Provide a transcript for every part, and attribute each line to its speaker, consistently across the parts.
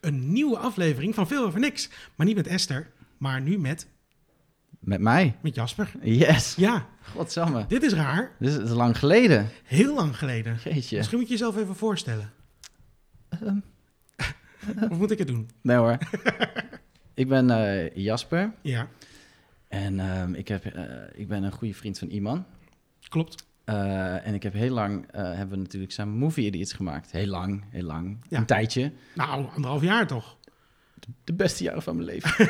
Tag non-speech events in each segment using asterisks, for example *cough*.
Speaker 1: een nieuwe aflevering van Veel Over Niks. Maar niet met Esther, maar nu met,
Speaker 2: Met mij?
Speaker 1: met Jasper.
Speaker 2: Yes.
Speaker 1: Ja,
Speaker 2: Godsamme.
Speaker 1: dit is raar.
Speaker 2: Dit is, dit is lang geleden.
Speaker 1: Heel lang geleden.
Speaker 2: Jeetje.
Speaker 1: Misschien moet je jezelf even voorstellen.
Speaker 2: Ehm.
Speaker 1: *laughs* Of moet ik het doen?
Speaker 2: Nee
Speaker 1: *laughs*
Speaker 2: hoor. ik ben eh, Jasper
Speaker 1: Ja,
Speaker 2: en ehm, ik, heb, eh, ik ben een goede vriend van Iman.
Speaker 1: klopt.
Speaker 2: Eh, en ik heb heel lang, eh, hebben we natuurlijk samen movie iets gemaakt. Heel lang, heel lang.
Speaker 1: Ja.
Speaker 2: Een tijdje.
Speaker 1: Nou, anderhalf jaar toch.
Speaker 2: De beste jaren van mijn
Speaker 1: *laughs*
Speaker 2: leven.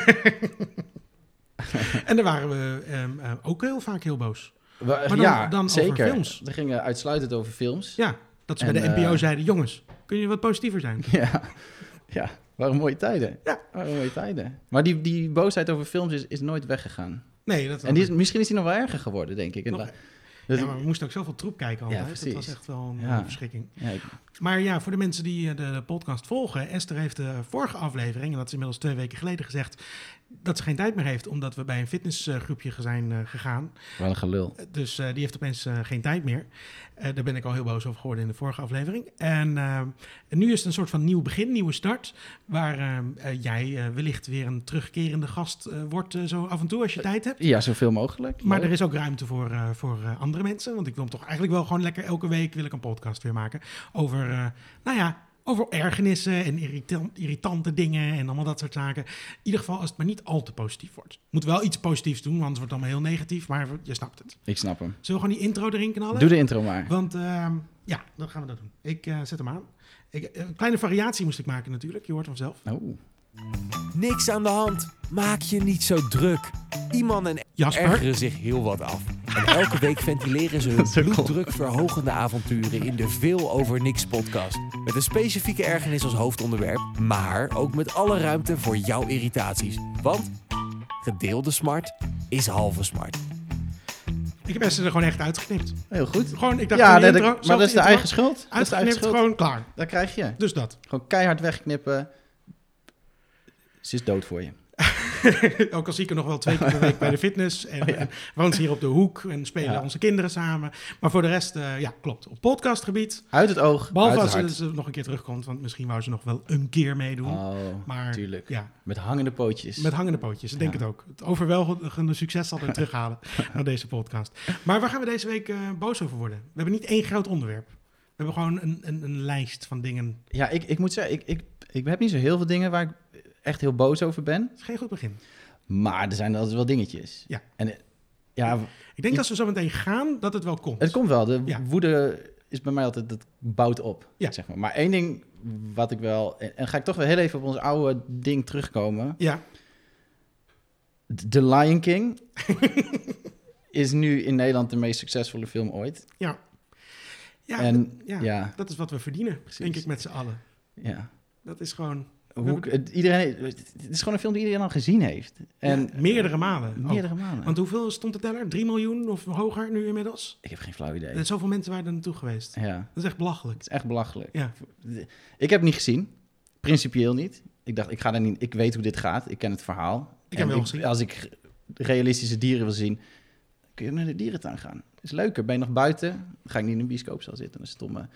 Speaker 1: En daar waren we ehm, eh, ook heel vaak heel boos.
Speaker 2: We-
Speaker 1: dan-
Speaker 2: ja,
Speaker 1: dan over
Speaker 2: zeker.
Speaker 1: films.
Speaker 2: We gingen uitsluitend over films. *laughs*
Speaker 1: Ja, dat ze bij
Speaker 2: En,
Speaker 1: de NPO
Speaker 2: eh,
Speaker 1: zeiden, jongens, kun je wat positiever zijn?
Speaker 2: Ja, ja. waren mooie tijden.
Speaker 1: Ja.
Speaker 2: Waren mooie tijden. Maar die, die boosheid over films is, is nooit weggegaan.
Speaker 1: Nee, dat
Speaker 2: En die is, misschien is die nog wel erger geworden, denk ik.
Speaker 1: Nog-
Speaker 2: Dat-
Speaker 1: ja, maar we moesten ook zoveel troep kijken altijd.
Speaker 2: precies.
Speaker 1: Dat was echt wel een
Speaker 2: Ja.
Speaker 1: eh, verschrikking.
Speaker 2: ja, ik-
Speaker 1: Maar ja, voor de mensen die eh, de, de podcast volgen, Esther heeft de vorige aflevering, en dat is inmiddels twee weken geleden gezegd, dat ze geen tijd meer heeft, omdat we bij een fitnessgroepje zijn eh, gegaan.
Speaker 2: wel een gelul.
Speaker 1: Eh, Dus eh, die heeft opeens eh, geen tijd meer. Eh, daar ben ik al heel boos over geworden in de vorige aflevering. En eh, nu is het een soort van nieuw begin, nieuwe start, waar eh, eh, jij eh, wellicht weer een terugkerende gast eh, wordt, eh, zo af en toe als je tijd hebt.
Speaker 2: Ja, zoveel mogelijk.
Speaker 1: Maar
Speaker 2: Leuk.
Speaker 1: er is ook ruimte voor, eh, voor eh, andere mensen. Want ik wil hem toch eigenlijk wel gewoon lekker elke week wil ik een podcast weer maken. Over, eh, nou ja, over ergernissen en irritan- irritante dingen en allemaal dat soort zaken. In ieder geval als het maar niet al te positief wordt. Moet wel iets positiefs doen, want anders wordt het allemaal heel negatief. Maar je snapt het.
Speaker 2: Ik snap hem.
Speaker 1: Zullen we gewoon die intro erin knallen?
Speaker 2: Doe de intro maar.
Speaker 1: Want ehm, ja, dan gaan we dat doen. Ik eh, zet hem aan. Ik, eh, een kleine variatie moest ik maken natuurlijk. Je hoort hem zelf.
Speaker 2: Oh.
Speaker 3: Niks aan de hand. Maak je niet zo druk. Iemand en
Speaker 1: Jasper.
Speaker 3: ergeren zich heel wat af. En elke week
Speaker 2: *laughs*
Speaker 3: ventileren ze hun
Speaker 2: Dat is ook cool.
Speaker 3: bloeddrukverhogende avonturen in de Veel Over Niks podcast. Met een specifieke ergernis als hoofdonderwerp, maar ook met alle ruimte voor jouw irritaties. Want gedeelde smart is halve smart.
Speaker 1: Ik heb Esther er gewoon echt uitgeknipt.
Speaker 2: Heel goed.
Speaker 1: Gewoon, ik dacht
Speaker 2: Ja,
Speaker 1: van die
Speaker 2: dat-
Speaker 1: intro,
Speaker 2: maar
Speaker 1: zelf
Speaker 2: dat is de
Speaker 1: die intro,
Speaker 2: eigen schuld. Dat is de eigen
Speaker 1: Uitgeknipt,
Speaker 2: schuld.
Speaker 1: gewoon klaar.
Speaker 2: Daar krijg je.
Speaker 1: Dus dat.
Speaker 2: Gewoon keihard wegknippen. Ze is dood voor je.
Speaker 1: *laughs* Ook al zie ik er nog wel twee keer per week bij de fitness. En, en woont ze hier op de hoek en spelen
Speaker 2: Oh Ja.
Speaker 1: onze kinderen samen. Maar voor de rest, eh, ja, klopt. Op podcastgebied.
Speaker 2: Uit het oog,
Speaker 1: Behalve
Speaker 2: uit
Speaker 1: als
Speaker 2: het
Speaker 1: ze,
Speaker 2: hart.
Speaker 1: ze nog een keer terugkomt, want misschien wou ze nog wel een keer meedoen.
Speaker 2: Oh,
Speaker 1: maar
Speaker 2: tuurlijk.
Speaker 1: ja,
Speaker 2: Met hangende pootjes.
Speaker 1: met hangende pootjes, ik denk
Speaker 2: Ja.
Speaker 1: het ook. Het overweldigende succes zal er
Speaker 2: *laughs*
Speaker 1: terughalen naar deze podcast. Maar waar gaan we deze week eh, boos over worden? We hebben niet één groot onderwerp. We hebben gewoon een, een, een lijst van dingen.
Speaker 2: Ja, ik, ik moet zeggen, ik, ik, ik heb niet zo heel veel dingen waar ik echt heel boos over ben.
Speaker 1: Dat is geen goed begin.
Speaker 2: Maar er zijn altijd wel dingetjes.
Speaker 1: Ja.
Speaker 2: En eh, ja,
Speaker 1: Ik denk dat ze zo meteen gaan, dat het wel komt.
Speaker 2: het komt wel. De
Speaker 1: Ja.
Speaker 2: woede is bij mij altijd, dat bouwt op,
Speaker 1: Ja.
Speaker 2: zeg maar. Maar één ding wat ik wel... En en ga ik toch weer heel even op ons oude ding terugkomen.
Speaker 1: Ja,
Speaker 2: D- The Lion
Speaker 1: *laughs*
Speaker 2: King is nu in Nederland de meest succesvolle film ooit.
Speaker 1: ja,
Speaker 2: en
Speaker 1: ja.
Speaker 2: ja, ja,
Speaker 1: dat is wat we verdienen, denk ik, met z'n allen. Dat is gewoon
Speaker 2: Hoe, het, iedereen, het is gewoon een film die iedereen al gezien heeft. En eh,
Speaker 1: ja, meerdere malen. ook.
Speaker 2: meerdere maanden.
Speaker 1: Want hoeveel stond de teller? 3 miljoen of hoger nu inmiddels?
Speaker 2: ik heb geen flauw idee.
Speaker 1: Er zijn Zoveel mensen waren er naartoe geweest.
Speaker 2: Ja.
Speaker 1: Dat is echt belachelijk.
Speaker 2: Het is echt belachelijk.
Speaker 1: Ja.
Speaker 2: Ik heb het niet gezien. Principieel niet. Ik dacht, ik ga daar niet. Ik weet hoe dit gaat. Ik ken het verhaal.
Speaker 1: heb
Speaker 2: En
Speaker 1: hem wel gezien.
Speaker 2: Als ik realistische dieren wil zien, kun je naar de dierentuin gaan. Is leuker. Ben je nog buiten? Dan ga ik niet in een bioscoopzaal zitten. en Een stomme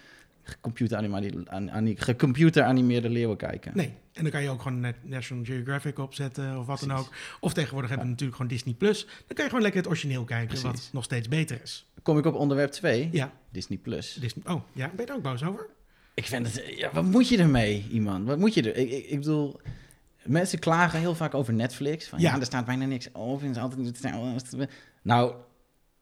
Speaker 2: computeranimeerde, an, an, gecomputeranimeerde leeuwen kijken.
Speaker 1: Nee. En dan kan je ook gewoon net National Geographic opzetten of wat dan
Speaker 2: Precies.
Speaker 1: ook. Of tegenwoordig hebben we natuurlijk gewoon Disney+. Plus. Dan kan je gewoon lekker het origineel kijken, wat
Speaker 2: Precies.
Speaker 1: nog steeds beter is.
Speaker 2: Kom ik op onderwerp 2,
Speaker 1: Ja,
Speaker 2: Disney Plus.
Speaker 1: Disney... Oh, ja, ben je er ook boos over?
Speaker 2: Ik vind het. Ja, wat moet je ermee, iemand? Wat moet je er? Ik, ik, ik bedoel. Mensen klagen heel vaak over Netflix. Van,
Speaker 1: Ja.
Speaker 2: ja. er staat bijna niks op. En het is altijd... Nou,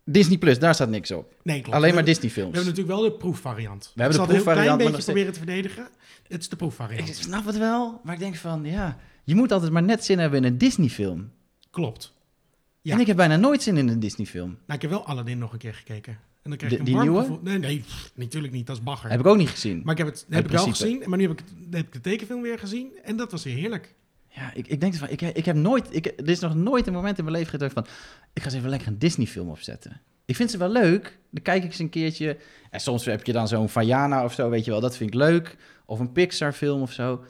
Speaker 2: Disney Plus, daar staat niks op.
Speaker 1: Nee, klopt.
Speaker 2: Alleen maar
Speaker 1: we,
Speaker 2: Disney
Speaker 1: we
Speaker 2: films.
Speaker 1: hebben natuurlijk wel de proefvariant.
Speaker 2: We hebben de
Speaker 1: Ik zal het een heel
Speaker 2: proefvariant,
Speaker 1: klein
Speaker 2: maar
Speaker 1: beetje proberen
Speaker 2: nog
Speaker 1: te verdedigen. Het is de proefvariant.
Speaker 2: Ik snap het wel, maar ik denk van, ja... Je moet altijd maar net zin hebben in een Disney film.
Speaker 1: Klopt. Ja.
Speaker 2: En ik heb bijna nooit zin in een Disney film.
Speaker 1: Nou, ik heb wel Aladdin nog een keer gekeken. En dan krijg ik
Speaker 2: De-
Speaker 1: een
Speaker 2: die
Speaker 1: warm
Speaker 2: nieuwe?
Speaker 1: gevoel. Nee, nee, pff, natuurlijk niet. Dat is bagger.
Speaker 2: Heb ik ook niet gezien.
Speaker 1: Maar ik heb het,
Speaker 2: In
Speaker 1: heb ik wel
Speaker 2: principe.
Speaker 1: gezien, maar nu heb ik, het- heb ik de tekenfilm weer gezien. En dat was weer heerlijk.
Speaker 2: Ja, ik, ik denk dus van, ik, ik heb nooit... Ik, er is nog nooit een moment in mijn leven gedacht van... Ik ga eens even lekker een Disney film opzetten. Ik vind ze wel leuk. Dan kijk ik eens een keertje. En soms heb je dan zo'n Vajana of zo, weet je wel. Dat vind ik leuk. Of een Pixar film of zo.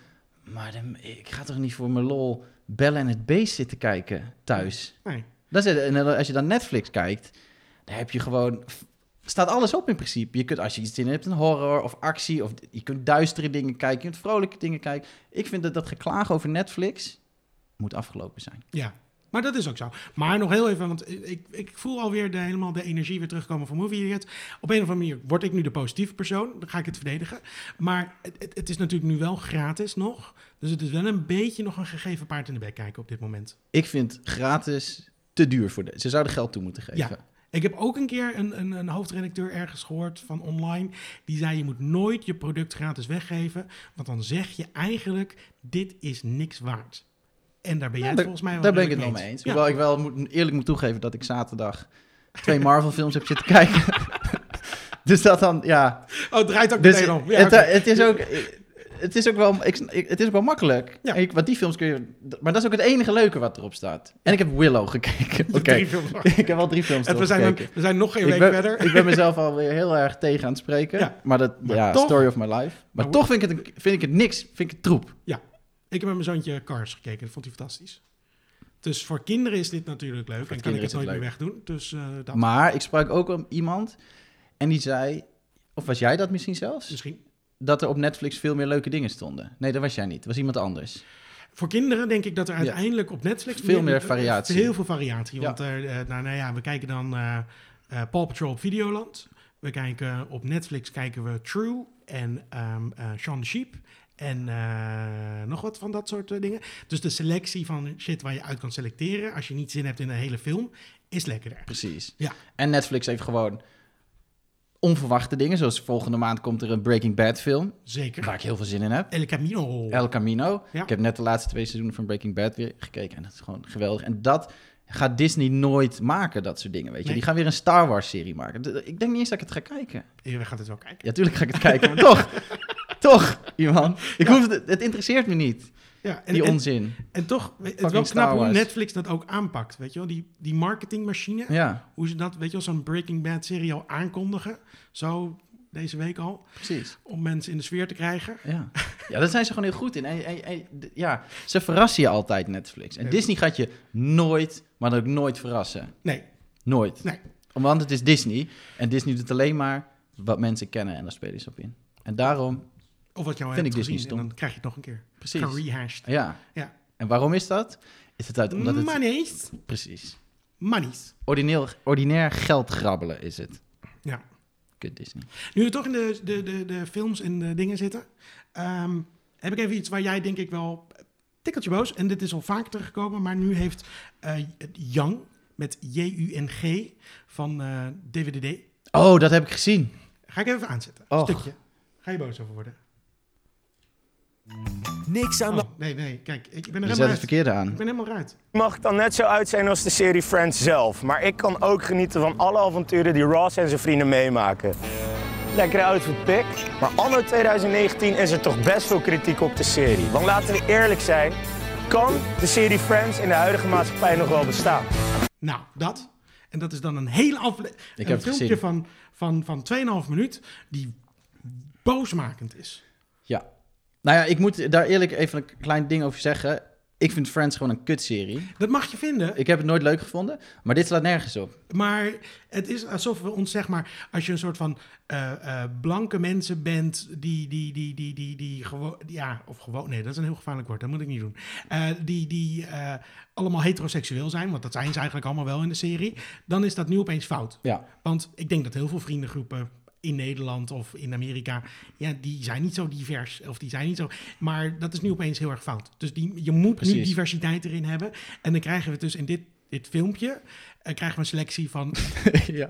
Speaker 2: Maar dan, ik ga toch niet voor mijn lol bellen en het beest zitten kijken thuis.
Speaker 1: Nee.
Speaker 2: Dat is het. En als je dan Netflix kijkt, dan heb je gewoon staat alles op in principe. Je kunt, als je iets in hebt, een horror of actie, of je kunt duistere dingen kijken, je kunt vrolijke dingen kijken. Ik vind dat dat geklaag over Netflix moet afgelopen zijn.
Speaker 1: Ja, maar dat is ook zo. Maar nog heel even, want ik, ik voel alweer de, helemaal de energie weer terugkomen van Movie Idiot. Op een of andere manier word ik nu de positieve persoon. Dan ga ik het verdedigen. Maar het- het, het is natuurlijk nu wel gratis nog. Dus het is wel een beetje nog een gegeven paard in de bek kijken op dit moment.
Speaker 2: Ik vind gratis te duur voor de. Ze zouden geld toe moeten geven.
Speaker 1: Ja. Ik heb ook een keer een, een, een hoofdredacteur ergens gehoord van online. Die zei: Je moet nooit je product gratis weggeven. Want dan zeg je eigenlijk: Dit is niks waard. En daar ben jij het
Speaker 2: Ja, daar-
Speaker 1: volgens mij wel
Speaker 2: Daar ben ik het wel
Speaker 1: redelijk
Speaker 2: mee eens.
Speaker 1: Ja.
Speaker 2: Hoewel ik wel moet, eerlijk moet toegeven dat ik zaterdag twee *laughs* Marvel-films heb zitten kijken. *laughs* dus dat dan, ja.
Speaker 1: Oh, het draait ook
Speaker 2: Dus
Speaker 1: meteen om. Ja,
Speaker 2: het,
Speaker 1: oké. *laughs*
Speaker 2: het is ook. Het is ook wel, ik, ik- het is ook wel makkelijk.
Speaker 1: Ja.
Speaker 2: En Ik, want die films kun je. Maar dat is ook het enige leuke wat erop staat. En ik heb Willow
Speaker 1: *laughs*
Speaker 2: gekeken. Oké.
Speaker 1: Drie films.
Speaker 2: *laughs* ik heb al drie films
Speaker 1: En
Speaker 2: erop
Speaker 1: we zijn,
Speaker 2: gekeken.
Speaker 1: we zijn nog geen
Speaker 2: Ik
Speaker 1: week
Speaker 2: ben,
Speaker 1: verder.
Speaker 2: ik ben mezelf alweer heel erg tegen aan het spreken.
Speaker 1: Ja.
Speaker 2: Maar dat,
Speaker 1: Maar
Speaker 2: ja,
Speaker 1: toch-
Speaker 2: story of my life. Maar
Speaker 1: hoe-
Speaker 2: toch vind ik, het, een- vind ik het niks. Vind ik het troep.
Speaker 1: Ik heb met mijn zoontje Cars gekeken. Dat vond hij fantastisch. Dus voor kinderen is dit natuurlijk leuk. en kan ik
Speaker 2: kinderen
Speaker 1: het
Speaker 2: is het
Speaker 1: nooit meer wegdoen. Dus eh, dat
Speaker 2: Maar ik sprak ook om iemand en die zei, of was jij dat misschien zelfs?
Speaker 1: misschien.
Speaker 2: Dat er op Netflix veel meer leuke dingen stonden. Nee, dat was jij niet. Dat was iemand anders.
Speaker 1: Voor kinderen denk ik dat er uiteindelijk op Netflix...
Speaker 2: Veel meer variatie.
Speaker 1: Heel veel variatie.
Speaker 2: Ja.
Speaker 1: Want eh, eh, nou, nou ja, we kijken dan eh eh, Paw Patrol op Videoland. We kijken op Netflix kijken we True en ehm eh, Shaun the Sheep. En eh, nog wat van dat soort eh, dingen. Dus de selectie van shit waar je uit kan selecteren... als je niet zin hebt in een hele film, is lekkerder.
Speaker 2: Precies.
Speaker 1: Ja.
Speaker 2: En Netflix heeft gewoon onverwachte dingen. Zoals volgende maand komt er een Breaking Bad film.
Speaker 1: Zeker.
Speaker 2: Waar ik heel veel zin in heb.
Speaker 1: El Camino.
Speaker 2: El Camino.
Speaker 1: Ja.
Speaker 2: Ik heb net de laatste twee seizoenen van Breaking Bad weer gekeken. En dat is gewoon geweldig. En dat gaat Disney nooit maken, dat soort dingen. Weet je?
Speaker 1: Nee.
Speaker 2: Die gaan weer een Star Wars-serie maken. D- Ik denk niet eens dat ik het ga kijken.
Speaker 1: Ja, we gaan het wel kijken.
Speaker 2: Ja, tuurlijk ga ik het kijken, maar
Speaker 1: *laughs*
Speaker 2: toch. Toch, Iman. Ik hoef het, het interesseert me niet,
Speaker 1: Ja, en,
Speaker 2: die
Speaker 1: en,
Speaker 2: onzin.
Speaker 1: en toch, het is wel
Speaker 2: Fucking Star
Speaker 1: knap hoe
Speaker 2: Wars.
Speaker 1: Netflix dat ook aanpakt. Weet je wel, die, die marketingmachine.
Speaker 2: Ja,
Speaker 1: Hoe ze dat, weet je wel, zo'n Breaking Bad serie al aankondigen. Zo deze week al.
Speaker 2: precies.
Speaker 1: Om mensen in de sfeer te krijgen.
Speaker 2: Ja, ja daar zijn ze gewoon heel goed in. En, en- en- d- ja, ze verrassen je altijd, Netflix. En
Speaker 1: Ja.
Speaker 2: Disney gaat je nooit, maar dan ook nooit verrassen.
Speaker 1: Nee,
Speaker 2: Nooit.
Speaker 1: Nee.
Speaker 2: Want het is Disney. En Disney doet alleen maar wat mensen kennen en daar spelen ze op in. En daarom,
Speaker 1: of wat jou
Speaker 2: Vind
Speaker 1: hebt
Speaker 2: ik Disney
Speaker 1: gezien. En
Speaker 2: stom.
Speaker 1: dan krijg je het nog een keer.
Speaker 2: precies.
Speaker 1: Gerehashed.
Speaker 2: Ja.
Speaker 1: Ja.
Speaker 2: En waarom is dat? Is het uit, omdat het...
Speaker 1: Money's.
Speaker 2: Precies.
Speaker 1: Money's.
Speaker 2: Ordineel, ordinair geld grabbelen is het.
Speaker 1: Ja.
Speaker 2: Kut Disney.
Speaker 1: Nu we toch in de, de, de, de films en de dingen zitten, ehm, heb ik even iets waar jij denk ik wel een tikkeltje boos. En dit is al vaak teruggekomen, maar nu heeft eh Young met J-U-N-G van eh DWDD.
Speaker 2: Oh, dat heb ik gezien.
Speaker 1: Ga ik even aanzetten.
Speaker 2: Och.
Speaker 1: Stukje. Ga je boos over worden?
Speaker 3: Niks aan de
Speaker 1: Oh, nee, nee. Kijk, ik ben er
Speaker 2: Je
Speaker 1: helemaal
Speaker 2: zet het
Speaker 1: uit.
Speaker 2: verkeerde
Speaker 1: Ik
Speaker 2: aan.
Speaker 1: ben helemaal eruit.
Speaker 4: mag dan net zo uit zijn als de serie Friends zelf. Maar ik kan ook genieten van alle avonturen die Ross en zijn vrienden meemaken. Lekkere outfit pick. Maar anno 2019 is er toch best veel kritiek op de serie. Want laten we eerlijk zijn, kan de serie Friends in de huidige maatschappij nog wel bestaan?
Speaker 1: Nou, dat. En dat is dan een hele aflevering. Een
Speaker 2: heb het
Speaker 1: filmpje
Speaker 2: gezien.
Speaker 1: van, van, van 2,5 minuut die boosmakend is.
Speaker 2: Ja. Nou ja, ik moet daar eerlijk even een klein ding over zeggen. Ik vind Friends gewoon een kutserie.
Speaker 1: Dat mag je vinden.
Speaker 2: Ik heb het nooit leuk gevonden, maar dit slaat nergens op.
Speaker 1: Maar het is alsof we ons, zeg maar, als je een soort van eh, eh, blanke mensen bent, die, die, die, die, die, die gewoon, ja, of gewoon, nee, dat is een heel gevaarlijk woord, dat moet ik niet doen. Eh, die die eh, allemaal heteroseksueel zijn, want dat zijn ze eigenlijk allemaal wel in de serie, dan is dat nu opeens fout.
Speaker 2: Ja.
Speaker 1: Want ik denk dat heel veel vriendengroepen in Nederland of in Amerika, ja, die zijn niet zo divers of die zijn niet zo. Maar dat is nu opeens heel erg fout. Dus die, je moet nu
Speaker 2: Precies.
Speaker 1: diversiteit erin hebben. En dan krijgen we dus in dit, dit filmpje eh, krijgen we een selectie van. *laughs* *laughs*
Speaker 2: ja.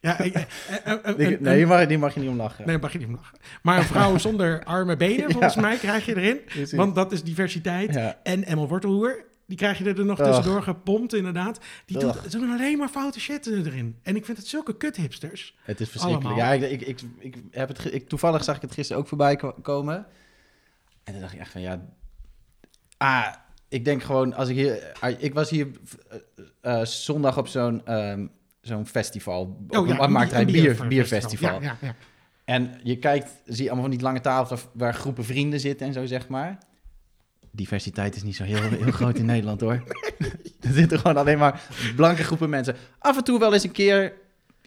Speaker 1: ja, eh, eh, eh, eh, een-
Speaker 2: Ik, nee,
Speaker 1: een-
Speaker 2: die mag, die mag je niet om lachen.
Speaker 1: Nee, mag je niet om lachen. Maar een vrouw zonder arme benen, volgens
Speaker 2: *laughs* Ja.
Speaker 1: mij, krijg je erin.
Speaker 2: Precies.
Speaker 1: Want dat is diversiteit.
Speaker 2: Ja.
Speaker 1: En Emma Wortelhoer, die krijg je er nog
Speaker 2: Ugh.
Speaker 1: tussendoor gepompt, inderdaad. Die doet,
Speaker 2: Ugh.
Speaker 1: ze doen alleen maar foute shit eh, erin. En ik vind het zulke kuthipsters.
Speaker 2: Het is verschrikkelijk.
Speaker 1: Allemaal.
Speaker 2: Ja, ik, ik, ik, ik heb het ge- ik, toevallig zag ik het gisteren ook voorbij ko- komen. En dan dacht ik echt van ja. Ah, ik denk gewoon als ik hier. ah, Ik was hier eh, eh, zondag op zo'n ehm, zo'n festival. Op een-
Speaker 1: Oh een
Speaker 2: maakt hij een bier,
Speaker 1: bierfestival.
Speaker 2: bierfestival.
Speaker 1: Ja, ja, ja.
Speaker 2: En je kijkt, zie je allemaal van die lange tafels af- waar groepen vrienden zitten en zo, zeg maar. Diversiteit is niet zo heel,
Speaker 1: *laughs*
Speaker 2: heel groot in Nederland, *laughs* hoor. er zitten gewoon alleen maar blanke groepen mensen. Af en toe wel eens een keer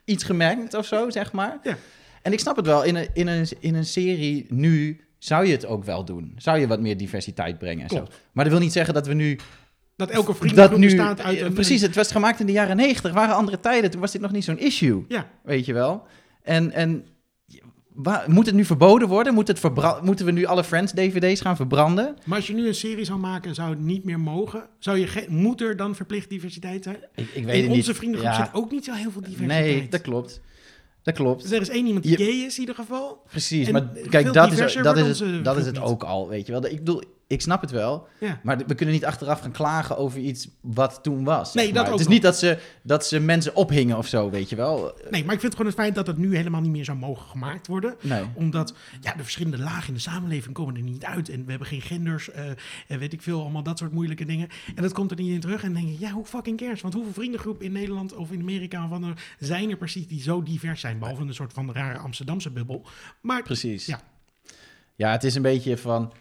Speaker 2: iets gemengd of zo, zeg maar.
Speaker 1: Ja.
Speaker 2: En ik snap het wel, in een, in, een, in een serie nu zou je het ook wel doen. Zou je wat meer diversiteit brengen en zo.
Speaker 1: Klopt.
Speaker 2: Maar dat wil niet zeggen dat we nu...
Speaker 1: Dat elke
Speaker 2: dat
Speaker 1: vriendengroep
Speaker 2: nu eh,
Speaker 1: bestaat uit... een-
Speaker 2: precies, het was gemaakt in de jaren negentig, waren andere tijden. Toen was dit nog niet zo'n issue.
Speaker 1: Ja,
Speaker 2: Weet je wel? En, en wa- moet het nu verboden worden? Moet het verbra- moeten we nu alle Friends-DVD's gaan verbranden?
Speaker 1: maar als je nu een serie zou maken en zou het niet meer mogen, zou je ge- moet er dan verplicht diversiteit zijn?
Speaker 2: Ik, ik
Speaker 1: In onze vriendengroep zit ook niet zo heel veel diversiteit.
Speaker 2: Nee, dat klopt. Dat klopt.
Speaker 1: Dus er is één iemand die
Speaker 2: Je-
Speaker 1: gay is in ieder geval.
Speaker 2: Precies.
Speaker 1: En
Speaker 2: Maar
Speaker 1: veel
Speaker 2: kijk, dat is,
Speaker 1: diverser
Speaker 2: dat
Speaker 1: wordt
Speaker 2: is,
Speaker 1: onze
Speaker 2: het, dat is het
Speaker 1: groep niet.
Speaker 2: ook al, weet je wel. Ik bedoel, ik snap het wel.
Speaker 1: Ja.
Speaker 2: Maar we kunnen niet achteraf gaan klagen over iets wat toen was.
Speaker 1: Nee,
Speaker 2: zeg
Speaker 1: dat
Speaker 2: maar.
Speaker 1: ook
Speaker 2: Het
Speaker 1: nog.
Speaker 2: is niet dat ze, dat ze mensen ophingen of zo, weet je wel.
Speaker 1: Nee, maar ik vind gewoon het feit dat het nu helemaal niet meer zou mogen gemaakt worden.
Speaker 2: Nee.
Speaker 1: Omdat ja, de verschillende lagen in de samenleving komen er niet uit. En we hebben geen genders eh, en weet ik veel, allemaal dat soort moeilijke dingen. En dat komt er niet in terug. En dan denk je, ja, hoe fucking cares? Want hoeveel vriendengroep in Nederland of in Amerika of ander zijn er precies die zo divers zijn? Behalve een soort van rare Amsterdamse bubbel. Maar
Speaker 2: Precies.
Speaker 1: Ja.
Speaker 2: Ja, het is een beetje van.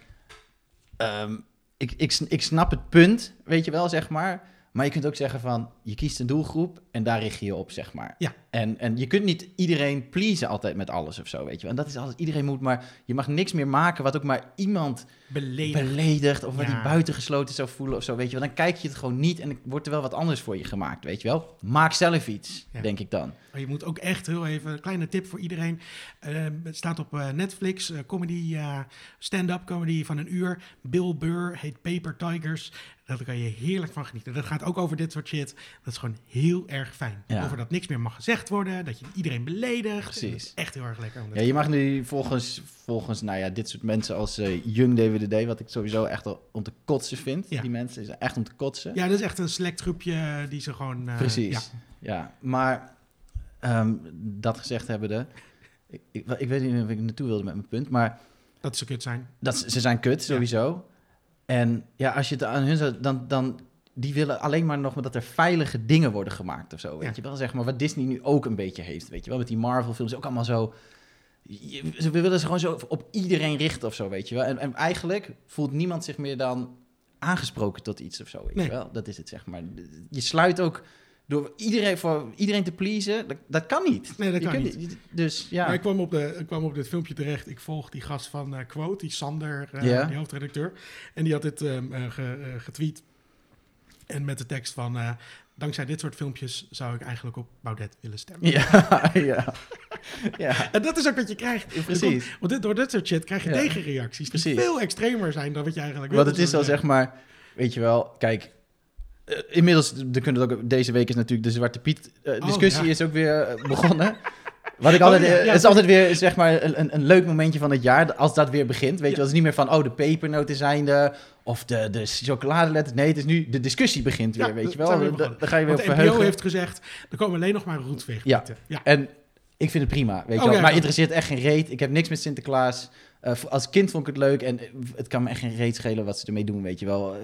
Speaker 2: ehm, ik, ik, sn- ik snap het punt, weet je wel, zeg maar. Maar je kunt ook zeggen van, je kiest een doelgroep en daar richt je je op, zeg maar.
Speaker 1: Ja.
Speaker 2: En, en je kunt niet iedereen pleasen altijd met alles of zo, weet je wel. En dat is altijd, iedereen moet maar, je mag niks meer maken wat ook maar iemand
Speaker 1: beledigd.
Speaker 2: beledigt of wat
Speaker 1: Ja.
Speaker 2: die buitengesloten zou voelen of zo, weet je wel. Dan kijk je het gewoon niet en wordt er wel wat anders voor je gemaakt, weet je wel. Maak zelf iets,
Speaker 1: Ja.
Speaker 2: denk ik dan.
Speaker 1: Maar je moet ook echt heel even, een kleine tip voor iedereen. Eh, het staat op eh, Netflix, eh, comedy, eh, stand-up comedy van een uur. Bill Burr heet Paper Tigers. Daar kan je heerlijk van genieten. Dat gaat ook over dit soort shit. Dat is gewoon heel erg fijn.
Speaker 2: Ja.
Speaker 1: Over dat niks meer mag gezegd worden, dat je iedereen beledigt.
Speaker 2: Precies.
Speaker 1: Dat is echt heel erg lekker. om dat
Speaker 2: Ja, je mag nu volgens, volgens nou ja, dit soort mensen als eh Young DWDD, wat ik sowieso echt al om te kotsen vind.
Speaker 1: Ja.
Speaker 2: Die mensen is echt om te kotsen.
Speaker 1: ja, dat is echt een select groepje die ze gewoon... eh,
Speaker 2: Precies.
Speaker 1: ja.
Speaker 2: Ja. Maar ehm, dat gezegd hebbende, ik, ik, wel, ik weet niet of ik naartoe wilde met mijn punt, maar
Speaker 1: dat ze kut zijn.
Speaker 2: dat, ze ze zijn kut sowieso. En ja, als je het aan hun zou, dan, dan die willen alleen maar nog maar dat er veilige dingen worden gemaakt of zo. Weet
Speaker 1: Ja.
Speaker 2: je wel, zeg maar, wat Disney nu ook een beetje heeft, weet je wel, met die Marvel-films ook allemaal zo. je- Ze willen ze gewoon zo op iedereen richten of zo, weet je wel. En, en eigenlijk voelt niemand zich meer dan aangesproken tot iets of zo, weet
Speaker 1: Nee.
Speaker 2: je wel. Dat is het, zeg maar. Je sluit ook door iedereen, voor iedereen te pleasen, dat, dat kan niet.
Speaker 1: Nee, dat
Speaker 2: Je
Speaker 1: kan
Speaker 2: kunt
Speaker 1: niet.
Speaker 2: Dus ja.
Speaker 1: Maar ik kwam op, de, ik kwam op dit filmpje terecht. Ik volg die gast van eh, Quote, die Sander, eh,
Speaker 2: Ja.
Speaker 1: die hoofdredacteur. En die had dit ehm, eh, ge- eh, getweet. En met de tekst van... eh, Dankzij dit soort filmpjes zou ik eigenlijk op Baudet willen stemmen.
Speaker 2: *laughs* Ja, ja. ja.
Speaker 1: En dat is ook wat je krijgt.
Speaker 2: Ja,
Speaker 1: Er
Speaker 2: precies.
Speaker 1: komt- want dit, door dit soort shit krijg je
Speaker 2: Ja.
Speaker 1: tegenreacties die
Speaker 2: Precies.
Speaker 1: veel extremer zijn dan wat je eigenlijk
Speaker 2: Want
Speaker 1: wil. Dus, eh,
Speaker 2: het is wel zeg maar, weet je wel, kijk. eh, inmiddels, er kunnen het ook, deze week is natuurlijk de Zwarte Piet eh,
Speaker 1: Oh,
Speaker 2: discussie
Speaker 1: ja. Oh,
Speaker 2: is ook weer eh,
Speaker 1: *laughs*
Speaker 2: begonnen. Wat ik altijd,
Speaker 1: ja,
Speaker 2: eh,
Speaker 1: ja,
Speaker 2: het is altijd weer zeg maar een, een- een leuk momentje van het jaar als dat weer begint. Weet je,
Speaker 1: Ja.
Speaker 2: wel, het is niet meer van, oh, de pepernoten zijn er of de, de chocoladeletters. Nee, het is nu, de discussie begint weer,
Speaker 1: Ja,
Speaker 2: weet
Speaker 1: dat
Speaker 2: je wel.
Speaker 1: zijn we
Speaker 2: Dan,
Speaker 1: weer begonnen.
Speaker 2: dan ga je weer
Speaker 1: Want
Speaker 2: op
Speaker 1: de NPO
Speaker 2: verheugen.
Speaker 1: heeft gezegd, er komen alleen nog maar roetveegpieten. Ja.
Speaker 2: En ik vind het prima, weet je
Speaker 1: Oh,
Speaker 2: wel.
Speaker 1: ja,
Speaker 2: maar
Speaker 1: ja.
Speaker 2: interesseert echt geen reet. Ik heb niks met Sinterklaas. Eh, v- als kind vond ik het leuk en eh, het kan me echt geen reet schelen wat ze ermee doen, weet je wel. Eh,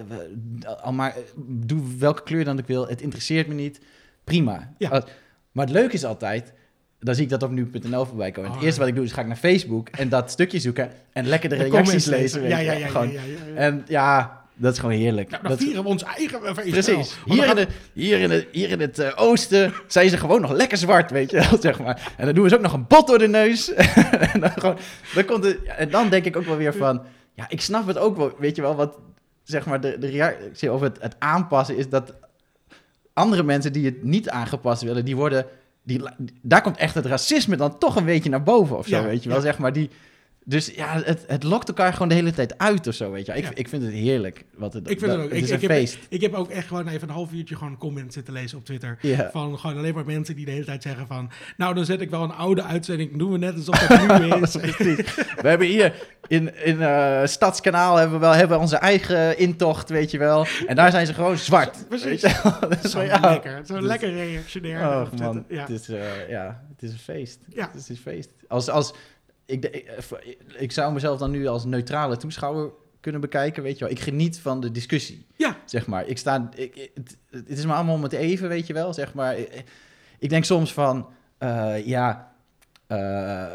Speaker 2: we- Al maar eh, doe welke kleur dan ik wil, het interesseert me niet. Prima.
Speaker 1: Ja.
Speaker 2: Als- maar het leuke is altijd, dan zie ik dat op nu.nl voorbij komen.
Speaker 1: Oh,
Speaker 2: het eerste
Speaker 1: ja.
Speaker 2: wat ik doe is ga ik naar Facebook en dat stukje zoeken en lekker de
Speaker 1: De
Speaker 2: reacties
Speaker 1: comments
Speaker 2: lezen. Weet
Speaker 1: Ja,
Speaker 2: je
Speaker 1: ja,
Speaker 2: wel.
Speaker 1: ja. ja,
Speaker 2: Gewoon.
Speaker 1: ja, ja, ja.
Speaker 2: En ja, dat is gewoon heerlijk.
Speaker 1: Nou, dan
Speaker 2: dat,
Speaker 1: vieren we ons eigen eh, feest
Speaker 2: Precies.
Speaker 1: Oh,
Speaker 2: Hier in, de, hier, in het hier in het eh, oosten zijn ze gewoon nog lekker zwart, weet je wel, *laughs* zeg maar. En dan doen we ze ook nog een bot door de neus. *laughs* en, dan gewoon, dan komt het, en dan denk ik ook wel weer van... Ja, ik snap het ook wel, weet je wel, wat... Zeg maar, de, de reactie over het, het aanpassen is dat... Andere mensen die het niet aangepast willen, die worden... Die, la- daar komt echt het racisme dan toch een beetje naar boven of zo,
Speaker 1: Ja,
Speaker 2: weet je wel.
Speaker 1: ja.
Speaker 2: Zeg maar, die... Dus ja, het, het lokt elkaar gewoon de hele tijd uit of zo, weet je wel. Ik,
Speaker 1: Ja.
Speaker 2: ik vind het heerlijk. Wat het,
Speaker 1: Ik vind het ook.
Speaker 2: Het
Speaker 1: ik,
Speaker 2: is
Speaker 1: ik,
Speaker 2: een
Speaker 1: heb,
Speaker 2: feest.
Speaker 1: ik heb ook echt gewoon even een half uurtje gewoon comments zitten lezen op Twitter.
Speaker 2: Ja.
Speaker 1: Van gewoon alleen maar mensen die de hele tijd zeggen van... Nou, dan zet ik wel een oude uitzending. Doen we net alsof dat
Speaker 2: *laughs*
Speaker 1: nu is.
Speaker 2: Precies. We hebben hier in, in eh, Stadskanaal hebben we, wel, hebben we onze eigen intocht, weet je wel. En daar zijn ze gewoon zwart.
Speaker 1: Precies.
Speaker 2: Weet je *laughs* wel. Dat is
Speaker 1: Zo
Speaker 2: gewoon, ja.
Speaker 1: lekker. Zo
Speaker 2: Dus-
Speaker 1: lekker reactionair. op
Speaker 2: Oh
Speaker 1: Twitter.
Speaker 2: man,
Speaker 1: Ja.
Speaker 2: het, is, eh, ja, het is een feest.
Speaker 1: Ja.
Speaker 2: Het is een feest. Als, als, ik, de- ik, eh, voor- ik zou mezelf dan nu als neutrale toeschouwer kunnen bekijken, weet je wel. Ik geniet van de discussie,
Speaker 1: Ja.
Speaker 2: zeg maar. Ik sta, ik, ik- het, het is me allemaal om het even, weet je wel, zeg maar. Ik, ik denk soms van, eh, ja, eh,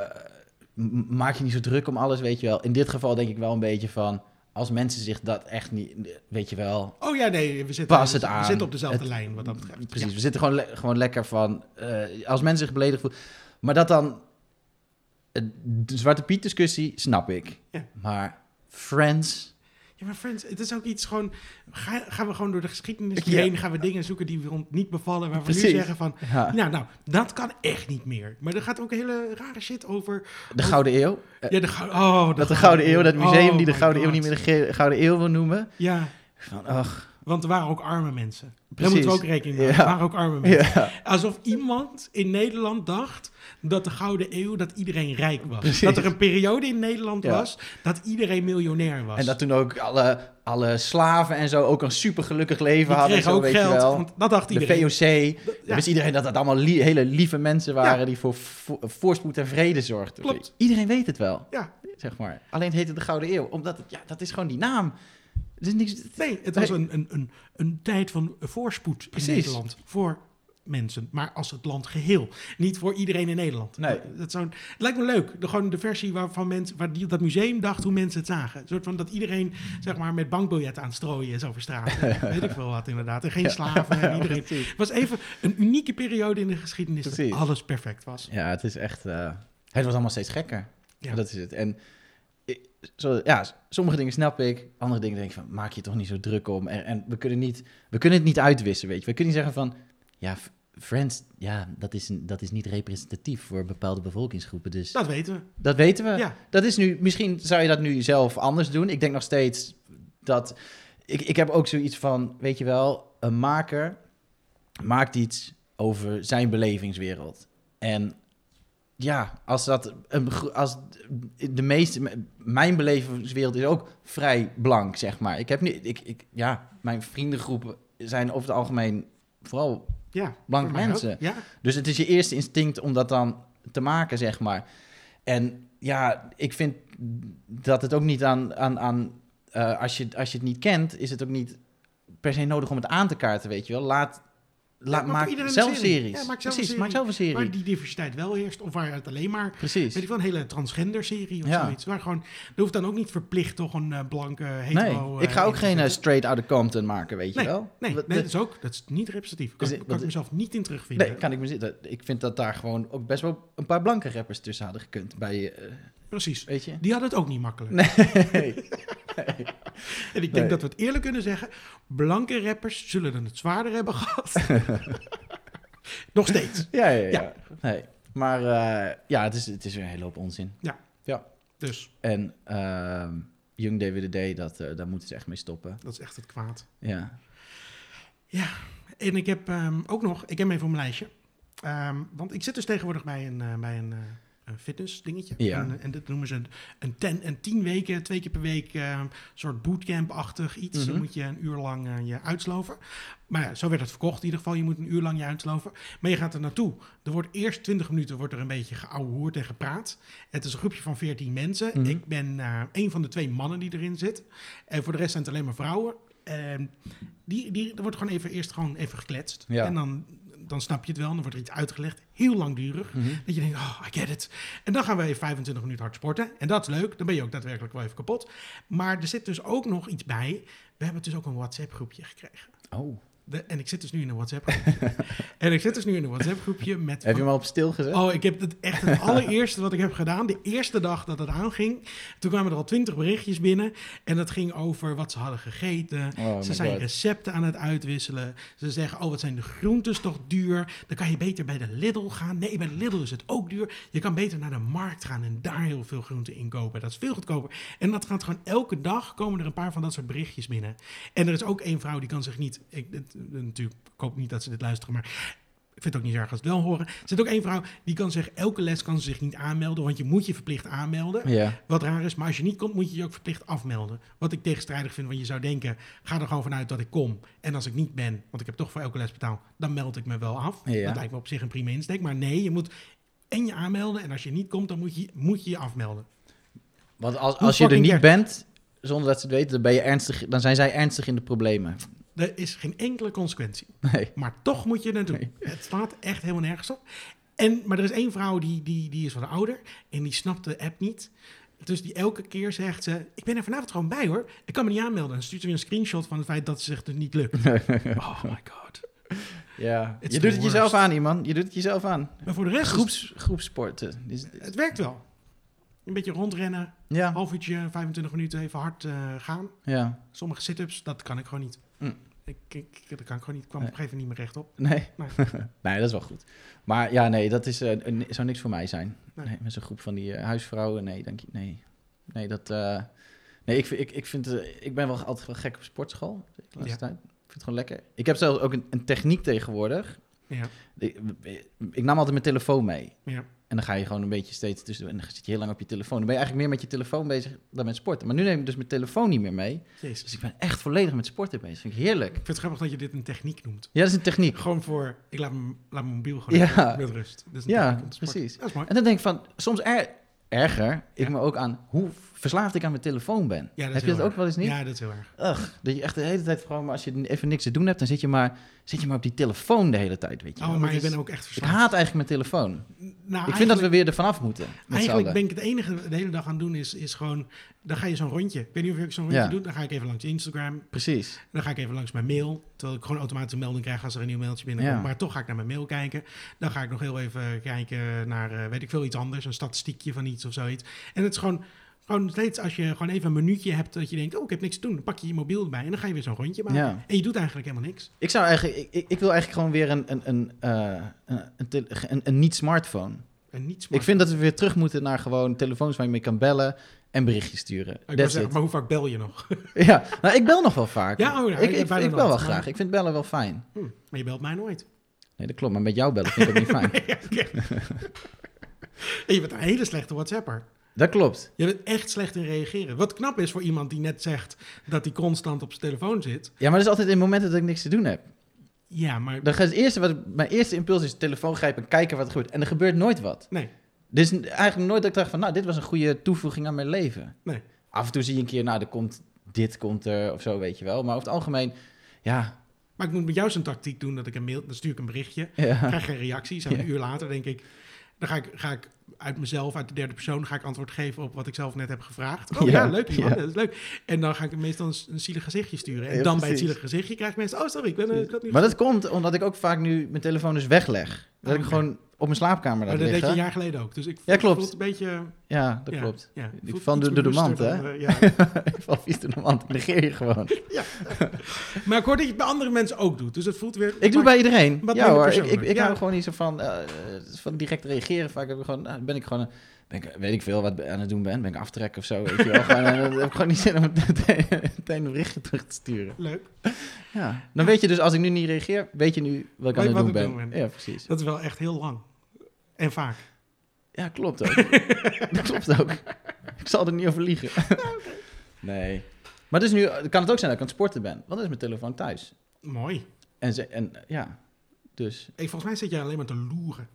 Speaker 2: m- maak je niet zo druk om alles, weet je wel. In dit geval denk ik wel een beetje van... Oké, als mensen zich dat echt niet, weet je wel,
Speaker 1: Oh ja, nee, we zitten,
Speaker 2: Pas het
Speaker 1: we
Speaker 2: aan.
Speaker 1: zitten op dezelfde
Speaker 2: Het-
Speaker 1: lijn wat dat betreft.
Speaker 2: Precies,
Speaker 1: Ja.
Speaker 2: we zitten gewoon, le- gewoon lekker van... eh, als mensen zich beledigd voelen... Maar dat dan... eh, De Zwarte Piet discussie, snap ik.
Speaker 1: Ja.
Speaker 2: Maar Friends...
Speaker 1: Ja, maar friends, het is ook iets gewoon... Ga, gaan we gewoon door de geschiedenis
Speaker 2: Ja.
Speaker 1: heen, gaan we dingen zoeken die we ons niet bevallen, waar we nu
Speaker 2: Precies.
Speaker 1: zeggen van...
Speaker 2: Ja.
Speaker 1: Nou, nou, dat kan echt niet meer. Maar er gaat ook hele rare shit over...
Speaker 2: De Gouden Eeuw. eh,
Speaker 1: Ja, de, gou- oh,
Speaker 2: dat de Gouden Eeuw, dat museum
Speaker 1: Oh
Speaker 2: die de
Speaker 1: my
Speaker 2: Gouden Eeuw
Speaker 1: God.
Speaker 2: niet meer de Ge- Gouden Eeuw wil noemen.
Speaker 1: Ja,
Speaker 2: Van, ach,
Speaker 1: want er waren ook arme mensen. Daar
Speaker 2: Precies.
Speaker 1: moeten we ook rekening mee houden.
Speaker 2: Ja.
Speaker 1: Er waren ook arme mensen.
Speaker 2: ja.
Speaker 1: Alsof iemand in Nederland dacht dat de Gouden Eeuw, dat iedereen rijk was.
Speaker 2: Precies.
Speaker 1: Dat er een periode in Nederland
Speaker 2: Ja.
Speaker 1: was dat iedereen miljonair was.
Speaker 2: En dat toen ook alle, alle slaven en zo ook een supergelukkig leven
Speaker 1: Die
Speaker 2: hadden.
Speaker 1: kregen
Speaker 2: zo,
Speaker 1: ook
Speaker 2: weet je
Speaker 1: geld,
Speaker 2: wel.
Speaker 1: want dat dacht
Speaker 2: De
Speaker 1: iedereen.
Speaker 2: VOC.
Speaker 1: Dat-
Speaker 2: Dan
Speaker 1: ja.
Speaker 2: wist iedereen dat dat allemaal lie- hele lieve mensen waren die voor vo- voorspoed en vrede zorgden.
Speaker 1: Klopt.
Speaker 2: Iedereen weet het wel,
Speaker 1: Ja,
Speaker 2: zeg maar. Alleen het heette de Gouden Eeuw, omdat het, ja, dat is gewoon die naam. Het is niks,
Speaker 1: nee, het was een, een, een, een tijd van voorspoed in
Speaker 2: Precies.
Speaker 1: Nederland. Voor mensen, maar als het land geheel. Niet voor iedereen in Nederland.
Speaker 2: Nee.
Speaker 1: Dat zou, het lijkt me leuk. De, gewoon de versie waarvan mensen, waar die, dat museum dacht hoe mensen het zagen. Een soort van dat iedereen zeg maar, met bankbiljetten aan het strooien is over straat.
Speaker 2: *laughs*
Speaker 1: Weet ik veel wat inderdaad. En geen slaven. En iedereen. Het was even een unieke periode in de geschiedenis
Speaker 2: Precies.
Speaker 1: dat alles perfect was.
Speaker 2: Ja, het is echt... eh, het was allemaal steeds gekker.
Speaker 1: Ja.
Speaker 2: Dat is het. En ik- zo, ja, s- sommige dingen snap ik, andere dingen denk ik van, maak je toch niet zo druk om. En, en we, kunnen niet, we kunnen het niet uitwissen, weet je. We kunnen niet zeggen van, ja, F- Friends, ja, dat is, een- dat is niet representatief voor bepaalde bevolkingsgroepen. Dus
Speaker 1: Dat weten we.
Speaker 2: Dat weten we.
Speaker 1: Ja.
Speaker 2: Dat is nu, misschien zou je dat nu zelf anders doen. Ik denk nog steeds dat. Ik, ik heb ook zoiets van: weet je wel, een maker maakt iets over zijn belevingswereld. En ja, als dat. Een, gro- als de meeste. m- Mijn belevingswereld is ook vrij blank, zeg maar. Ik heb niet. Ik, ik, ja, mijn vriendengroepen zijn over het algemeen vooral
Speaker 1: Ja,
Speaker 2: Blanke
Speaker 1: voor mij ook.
Speaker 2: mensen.
Speaker 1: Ja.
Speaker 2: dus het is je eerste instinct om dat dan te maken, zeg maar. En ja, ik vind dat het ook niet aan. aan, aan eh, als, je, als je het niet kent, is het ook niet per se nodig om het aan te kaarten, weet je wel. Laat, laat,
Speaker 1: maak
Speaker 2: maak
Speaker 1: iedereen een
Speaker 2: zelf
Speaker 1: serie.
Speaker 2: series.
Speaker 1: Ja, maak zelf
Speaker 2: Precies,
Speaker 1: een
Speaker 2: maak zelf een serie.
Speaker 1: Waar die diversiteit wel heerst, of waar het alleen maar
Speaker 2: Precies.
Speaker 1: Weet ik wel, een hele transgender serie of
Speaker 2: Ja.
Speaker 1: zoiets. Waar gewoon, er hoeft dan ook niet verplicht toch een eh, blanke
Speaker 2: Nee,
Speaker 1: hetero...
Speaker 2: ik ga
Speaker 1: eh,
Speaker 2: ook
Speaker 1: in te
Speaker 2: geen eh,
Speaker 1: zitten.
Speaker 2: straight out of Compton maken, weet je
Speaker 1: Nee,
Speaker 2: wel.
Speaker 1: nee,
Speaker 2: Wat-
Speaker 1: nee, dat
Speaker 2: dat-
Speaker 1: is ook, dat is niet representatief. Kan,
Speaker 2: Is het-
Speaker 1: kan
Speaker 2: wat-
Speaker 1: ik mezelf niet in terugvinden.
Speaker 2: nee, kan ik me zitten. Ik vind dat daar gewoon ook best wel een paar blanke rappers tussen hadden gekund bij, eh,
Speaker 1: Precies.
Speaker 2: weet je.
Speaker 1: Die hadden het ook niet makkelijk.
Speaker 2: *laughs* Nee.
Speaker 1: En ik denk
Speaker 2: Nee.
Speaker 1: dat we het eerlijk kunnen zeggen, blanke rappers zullen het zwaarder hebben
Speaker 2: *laughs*
Speaker 1: gehad. Nog steeds.
Speaker 2: Ja, ja, ja.
Speaker 1: Ja.
Speaker 2: Nee. Maar eh, ja, het is, het is weer een hele hoop onzin.
Speaker 1: Dus
Speaker 2: En ehm Young DWDD, dat, eh, daar moeten ze echt mee stoppen.
Speaker 1: dat is echt het kwaad.
Speaker 2: Ja.
Speaker 1: En ik heb ehm, ook nog, ik heb hem even op mijn lijstje. Ehm, want ik zit dus tegenwoordig bij een, eh, bij een, eh, een fitness dingetje.
Speaker 2: Ja.
Speaker 1: En, en dat noemen ze een, een, ten, een tien weken, twee keer per week, ehm, soort bootcamp-achtig iets. Dan
Speaker 2: Mhm.
Speaker 1: moet je een uur lang eh, je uitsloven. Maar ja, zo werd het verkocht in ieder geval. Je moet een uur lang je uitsloven. Maar je gaat er naartoe. Er wordt eerst 20 minuten wordt er een beetje geouwehoerd en gepraat. Het is een groepje van 14 mensen.
Speaker 2: Mhm.
Speaker 1: Ik ben eh, een van de twee mannen die erin zit. En voor de rest zijn het alleen maar vrouwen. Ehm, die, die, er wordt gewoon even eerst gewoon even gekletst.
Speaker 2: Ja.
Speaker 1: En dan, dan snap je het wel. En dan wordt er iets uitgelegd. Heel langdurig.
Speaker 2: Mhm.
Speaker 1: Dat je denkt, oh, I get it. En dan gaan we even 25 minuten hard sporten. En dat is leuk. Dan ben je ook daadwerkelijk wel even kapot. Maar er zit dus ook nog iets bij. We hebben dus ook een WhatsApp-groepje gekregen.
Speaker 2: Oh.
Speaker 1: De- en ik zit dus nu in een WhatsApp-groepje.
Speaker 2: *laughs*
Speaker 1: en ik zit dus nu in een WhatsApp-groepje met...
Speaker 2: Heb je hem al op stil gezet?
Speaker 1: Oh, ik heb het echt het allereerste wat ik heb gedaan. De eerste dag dat het aanging. Toen kwamen er al twintig berichtjes binnen. En dat ging over wat ze hadden gegeten.
Speaker 2: Oh
Speaker 1: ze
Speaker 2: my
Speaker 1: zijn
Speaker 2: God.
Speaker 1: recepten aan het uitwisselen. Ze zeggen, oh, wat zijn de groentes toch duur. Dan kan je beter bij de Lidl gaan. Nee, bij de Lidl is het ook duur. Je kan beter naar de markt gaan en daar heel veel groenten inkopen. Dat is veel goedkoper. En dat gaat gewoon elke dag komen er een paar van dat soort berichtjes binnen. En er is ook één vrouw die kan zich niet... Ik, het- natuurlijk, ik hoop niet dat ze dit luisteren, maar... Ik vind het ook niet zo erg als ze het wel horen. Er zit ook één vrouw die kan zeggen... elke les kan ze zich niet aanmelden... want je moet je verplicht aanmelden.
Speaker 2: Ja.
Speaker 1: Wat raar is, maar als je niet komt... moet je je ook verplicht afmelden. Wat ik tegenstrijdig vind, want je zou denken... ga er gewoon vanuit dat ik kom. En als ik niet ben, want ik heb toch voor elke les betaald... dan meld ik me wel af.
Speaker 2: Ja.
Speaker 1: Dat lijkt me op zich een prima insteek. Maar nee, je moet en je aanmelden... en als je niet komt, dan moet je moet je, je afmelden.
Speaker 2: Want als,
Speaker 1: Hoe
Speaker 2: als je er
Speaker 1: fucking
Speaker 2: niet bent, zonder dat ze het weten, dan, ben je ernstig, dan zijn zij ernstig in de problemen. *laughs*
Speaker 1: Er is geen enkele consequentie.
Speaker 2: Nee.
Speaker 1: Maar toch moet je het doen.
Speaker 2: Nee.
Speaker 1: Het slaat echt helemaal nergens op. En, maar er is één vrouw die, die, die is wat ouder en die snapt de app niet. Dus die elke keer zegt ze, ik ben er vanavond gewoon bij hoor. Ik kan me niet aanmelden. En dan stuurt ze weer een screenshot van het feit dat ze zich dus niet
Speaker 2: *laughs*
Speaker 1: lukt. oh my god.
Speaker 2: Ja.
Speaker 1: It's
Speaker 2: je
Speaker 1: the
Speaker 2: doet het jezelf
Speaker 1: worst.
Speaker 2: aan, iemand. Je doet het jezelf aan.
Speaker 1: Maar voor de rest, is-
Speaker 2: Groeps, groepsporten. Is-
Speaker 1: het werkt wel. Een beetje rondrennen,
Speaker 2: Ja.
Speaker 1: half uurtje, 25 minuten, even hard eh, gaan.
Speaker 2: Ja.
Speaker 1: Sommige sit-ups, dat kan ik gewoon niet.
Speaker 2: Mm.
Speaker 1: Ik, ik, dat kan ik gewoon niet. Ik kwam op een gegeven moment niet meer rechtop.
Speaker 2: Nee.
Speaker 1: Nee.
Speaker 2: *laughs* nee, dat is wel goed. Maar ja, nee, dat is, eh, een- zou niks voor mij zijn.
Speaker 1: Nee.
Speaker 2: Nee. met zo'n groep van die eh, huisvrouwen, nee, denk je, nee. Nee, dat, eh, nee, ik, vind- ik, ik vind, eh, ik ben wel altijd wel gek op sportschool, de laatste
Speaker 1: Ja.
Speaker 2: tijd. Ik vind het gewoon lekker. Ik heb zelfs ook een, een techniek tegenwoordig.
Speaker 1: Ja,
Speaker 2: Ik, ik nam altijd mijn telefoon mee.
Speaker 1: ja.
Speaker 2: En dan ga je gewoon een beetje steeds tussen. En dan zit je heel lang op je telefoon. Dan ben je eigenlijk meer met je telefoon bezig dan met sporten. Maar nu neem ik dus mijn telefoon niet meer mee.
Speaker 1: Jezus.
Speaker 2: Dus ik ben echt volledig met sporten bezig. Vind ik heerlijk.
Speaker 1: Ik vind het grappig dat je dit een techniek noemt.
Speaker 2: Ja, dat is een techniek.
Speaker 1: Gewoon voor, ik laat mijn, laat mijn mobiel gewoon
Speaker 2: Ja.
Speaker 1: even met rust. Dat is een
Speaker 2: Ja,
Speaker 1: techniek om te sporten.
Speaker 2: precies.
Speaker 1: Dat is mooi.
Speaker 2: En dan denk ik van, soms er- erger ik
Speaker 1: Ja.
Speaker 2: me ook aan hoe verslaafd ik aan mijn telefoon ben.
Speaker 1: Ja, dat is
Speaker 2: Heb je
Speaker 1: heel
Speaker 2: dat ook
Speaker 1: erg.
Speaker 2: wel eens niet?
Speaker 1: Ja, dat is heel erg.
Speaker 2: Ugh, dat je echt de hele tijd gewoon, maar als je even niks te doen hebt, dan zit je maar, zit je maar op die telefoon de hele tijd, weet je.
Speaker 1: Oh,
Speaker 2: wel.
Speaker 1: maar
Speaker 2: Dat
Speaker 1: ik
Speaker 2: is-
Speaker 1: ben ook echt
Speaker 2: dus Ik
Speaker 1: verslaafd.
Speaker 2: haat eigenlijk mijn telefoon.
Speaker 1: Nou,
Speaker 2: ik vind dat
Speaker 1: eigenlijk-
Speaker 2: we weer er vanaf moeten. met z'n
Speaker 1: Eigenlijk
Speaker 2: allen.
Speaker 1: ben ik het enige de hele dag aan het doen is, is gewoon... Dan ga je zo'n rondje. Ik weet niet of ik zo'n rondje
Speaker 2: Ja.
Speaker 1: doe. Dan ga ik even langs Instagram.
Speaker 2: Precies.
Speaker 1: Dan ga ik even langs mijn mail. Terwijl ik gewoon automatisch een melding krijg als er een nieuw mailtje binnenkomt.
Speaker 2: Ja.
Speaker 1: Maar toch ga ik naar mijn mail kijken. Dan ga ik nog heel even kijken naar, eh, weet ik veel, iets anders. Een statistiekje van iets of zoiets. En het is gewoon, gewoon steeds als je gewoon even een minuutje hebt dat je denkt... Oh, ik heb niks te doen. Dan pak je je mobiel erbij en dan ga je weer zo'n rondje maken.
Speaker 2: Ja.
Speaker 1: En je doet eigenlijk helemaal niks.
Speaker 2: Ik zou eigenlijk, ik- ik, ik wil eigenlijk gewoon weer een, een, een, eh, een, een, tele- een, een niet-smartphone.
Speaker 1: En niets
Speaker 2: Ik vind dat we weer terug moeten naar gewoon telefoons waar je mee kan bellen en berichtjes sturen.
Speaker 1: Ik wou
Speaker 2: That's
Speaker 1: zeggen,
Speaker 2: it.
Speaker 1: maar hoe vaak bel je nog?
Speaker 2: *laughs* Ja, nou, ik bel nog wel vaak.
Speaker 1: Ja, oh, ja,
Speaker 2: ik,
Speaker 1: ik
Speaker 2: ik, ik
Speaker 1: bel nog
Speaker 2: bel wel
Speaker 1: wat,
Speaker 2: graag.
Speaker 1: maar-
Speaker 2: Ik vind bellen wel fijn.
Speaker 1: Hm, maar je belt mij nooit.
Speaker 2: Nee, dat klopt. Maar met jou bellen vind ik ook
Speaker 1: *laughs*
Speaker 2: niet fijn.
Speaker 1: En je bent een hele slechte WhatsApper.
Speaker 2: Dat klopt.
Speaker 1: Je bent echt slecht in reageren. Wat knap is voor iemand die net zegt dat hij constant op zijn telefoon zit.
Speaker 2: Ja, maar dat is altijd in momenten dat ik niks te doen heb.
Speaker 1: Ja, maar.
Speaker 2: Dan gaat het eerste wat, mijn eerste impuls is de telefoon grijpen en kijken wat er gebeurt. En er gebeurt nooit wat.
Speaker 1: Nee.
Speaker 2: Dus n- eigenlijk nooit dat ik dacht van, nou, dit was een goede toevoeging aan mijn leven.
Speaker 1: Nee.
Speaker 2: Af en toe zie je een keer, nou, er komt, dit komt er of zo, weet je wel. Maar over het algemeen, ja.
Speaker 1: Maar ik moet met jou zo'n tactiek doen dat ik een mail. Dan stuur ik een berichtje.
Speaker 2: ja.
Speaker 1: Krijg geen reactie. Zo'n
Speaker 2: Ja.
Speaker 1: een uur later denk ik. Dan ga ik, ga ik uit mezelf, uit de derde persoon, ga ik antwoord geven op wat ik zelf net heb gevraagd. Oh ja,
Speaker 2: Ja,
Speaker 1: leuk. man,
Speaker 2: ja.
Speaker 1: Dat is leuk. En dan ga ik meestal een, s- een zielig gezichtje sturen. En dan
Speaker 2: Ja,
Speaker 1: bij het
Speaker 2: precies.
Speaker 1: zielig gezichtje krijg ik mensen. Oh, sorry, ik ben eh, ik had nu.
Speaker 2: Maar dat komt omdat ik ook vaak nu mijn telefoon dus wegleg. Dat ik
Speaker 1: Oké.
Speaker 2: gewoon op mijn slaapkamer
Speaker 1: Ah, Maar
Speaker 2: laat
Speaker 1: dat deed je
Speaker 2: liggen.
Speaker 1: een jaar geleden ook. Dus ik
Speaker 2: Ja, klopt.
Speaker 1: voel het een beetje.
Speaker 2: Ja, dat
Speaker 1: ja,
Speaker 2: klopt.
Speaker 1: Ja,
Speaker 2: Ik
Speaker 1: voel
Speaker 2: van
Speaker 1: iets
Speaker 2: de- door de mand,
Speaker 1: bewuster
Speaker 2: hè?
Speaker 1: dan, eh, ja.
Speaker 2: *laughs* Ik val vies door de mand. Ik negeer je gewoon.
Speaker 1: Maar ik hoor dat je het bij andere mensen ook doet. Dus het voelt weer.
Speaker 2: Ik doe het bij iedereen.
Speaker 1: wat minder
Speaker 2: ja hoor, ik, ik,
Speaker 1: persoonlijk,
Speaker 2: ik
Speaker 1: ja.
Speaker 2: hou gewoon niet zo van, eh, van direct reageren. Vaak heb ik gewoon, nou, ben ik gewoon, eh, ben ik, weet ik veel wat ik aan het doen ben. Ben ik aftrekken of zo. Weet je wel. gewoon, eh, *laughs* dan heb ik gewoon niet zin om meteen meteen een berichtje terug te sturen.
Speaker 1: Leuk.
Speaker 2: Ja. Dan weet je dus, als ik nu niet reageer, weet je nu wat ik aan
Speaker 1: Weet
Speaker 2: het
Speaker 1: wat
Speaker 2: doen
Speaker 1: ik
Speaker 2: ben.
Speaker 1: doen ben.
Speaker 2: Ja, precies.
Speaker 1: Dat is wel echt heel lang. En vaak.
Speaker 2: Ja, klopt *laughs* ook. dat klopt ook. Ik zal er niet over liegen. nee. Maar dus nu eh, kan het ook zijn dat ik aan het sporten ben. Want dan is mijn telefoon thuis.
Speaker 1: Mooi.
Speaker 2: En, ze, en eh, ja, dus
Speaker 1: Hey, volgens mij zit jij alleen maar te loeren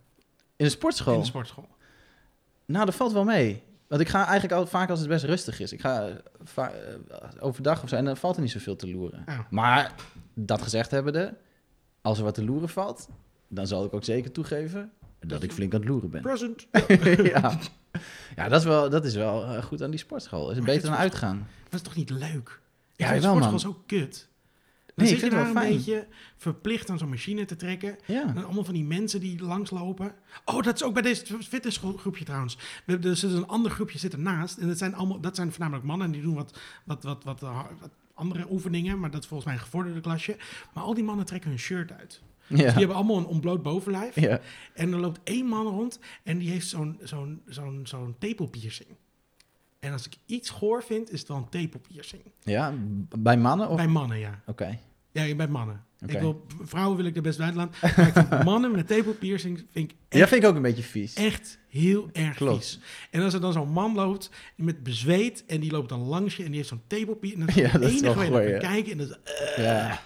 Speaker 2: in de sportschool.
Speaker 1: in de sportschool.
Speaker 2: Nou, dat valt wel mee. Want ik ga eigenlijk al, vaak als het best rustig is. Ik ga eh, va- eh, overdag of zo en dan valt er niet zoveel te loeren.
Speaker 1: Ja.
Speaker 2: Maar dat gezegd hebbende, als er wat te loeren valt, dan zal ik ook zeker toegeven dat ik flink aan het loeren ben.
Speaker 1: Present.
Speaker 2: *laughs* ja, ja dat, is wel, dat is wel eh, goed aan die sportschool. Is het
Speaker 1: Maar
Speaker 2: beter
Speaker 1: dit
Speaker 2: dan uitgaan?
Speaker 1: Dat is toch niet leuk? Ik
Speaker 2: Ja,
Speaker 1: vind
Speaker 2: jawel,
Speaker 1: sportschool
Speaker 2: man.
Speaker 1: is ook kut. Dan
Speaker 2: Nee,
Speaker 1: zit
Speaker 2: ik vind
Speaker 1: je
Speaker 2: het
Speaker 1: daar
Speaker 2: wel
Speaker 1: een
Speaker 2: fijn.
Speaker 1: beetje verplicht aan zo'n machine te trekken.
Speaker 2: Ja.
Speaker 1: En allemaal van die mensen die langslopen. Oh, dat is ook bij deze fitnessgroepje trouwens. We hebben dus een ander groepje zitten naast. En dat zijn, allemaal, dat zijn voornamelijk mannen. En die doen wat, wat, wat, wat, eh, wat andere oefeningen. Maar dat is volgens mij een gevorderde klasje. Maar al die mannen trekken hun shirt uit. Dus
Speaker 2: Ja.
Speaker 1: die hebben allemaal een ontbloot bovenlijf.
Speaker 2: Ja.
Speaker 1: En er loopt één man rond en die heeft zo'n zo'n zo'n zo'n tepelpiercing. En als ik iets goor vind, is het wel een tepelpiercing.
Speaker 2: ja, b- bij mannen? Of...
Speaker 1: Bij mannen, ja.
Speaker 2: Oké.
Speaker 1: Ja, bij mannen.
Speaker 2: Oh. Oké.
Speaker 1: Ik wil, vrouwen wil ik er best bij laten. Maar ik
Speaker 2: *laughs*
Speaker 1: vind mannen met tepelpiercing vind ik
Speaker 2: Ja, vind ik ook een beetje vies.
Speaker 1: echt heel erg
Speaker 2: Klopt.
Speaker 1: vies. En als er dan zo'n man loopt met bezweet en die loopt dan langs je en die heeft zo'n tepelpiercing. En dan
Speaker 2: Ja,
Speaker 1: is het
Speaker 2: dat is
Speaker 1: enige
Speaker 2: wel
Speaker 1: waar je
Speaker 2: goor,
Speaker 1: naar
Speaker 2: ja.
Speaker 1: kan kijken. En dat is, eh,
Speaker 2: Ja. Eh.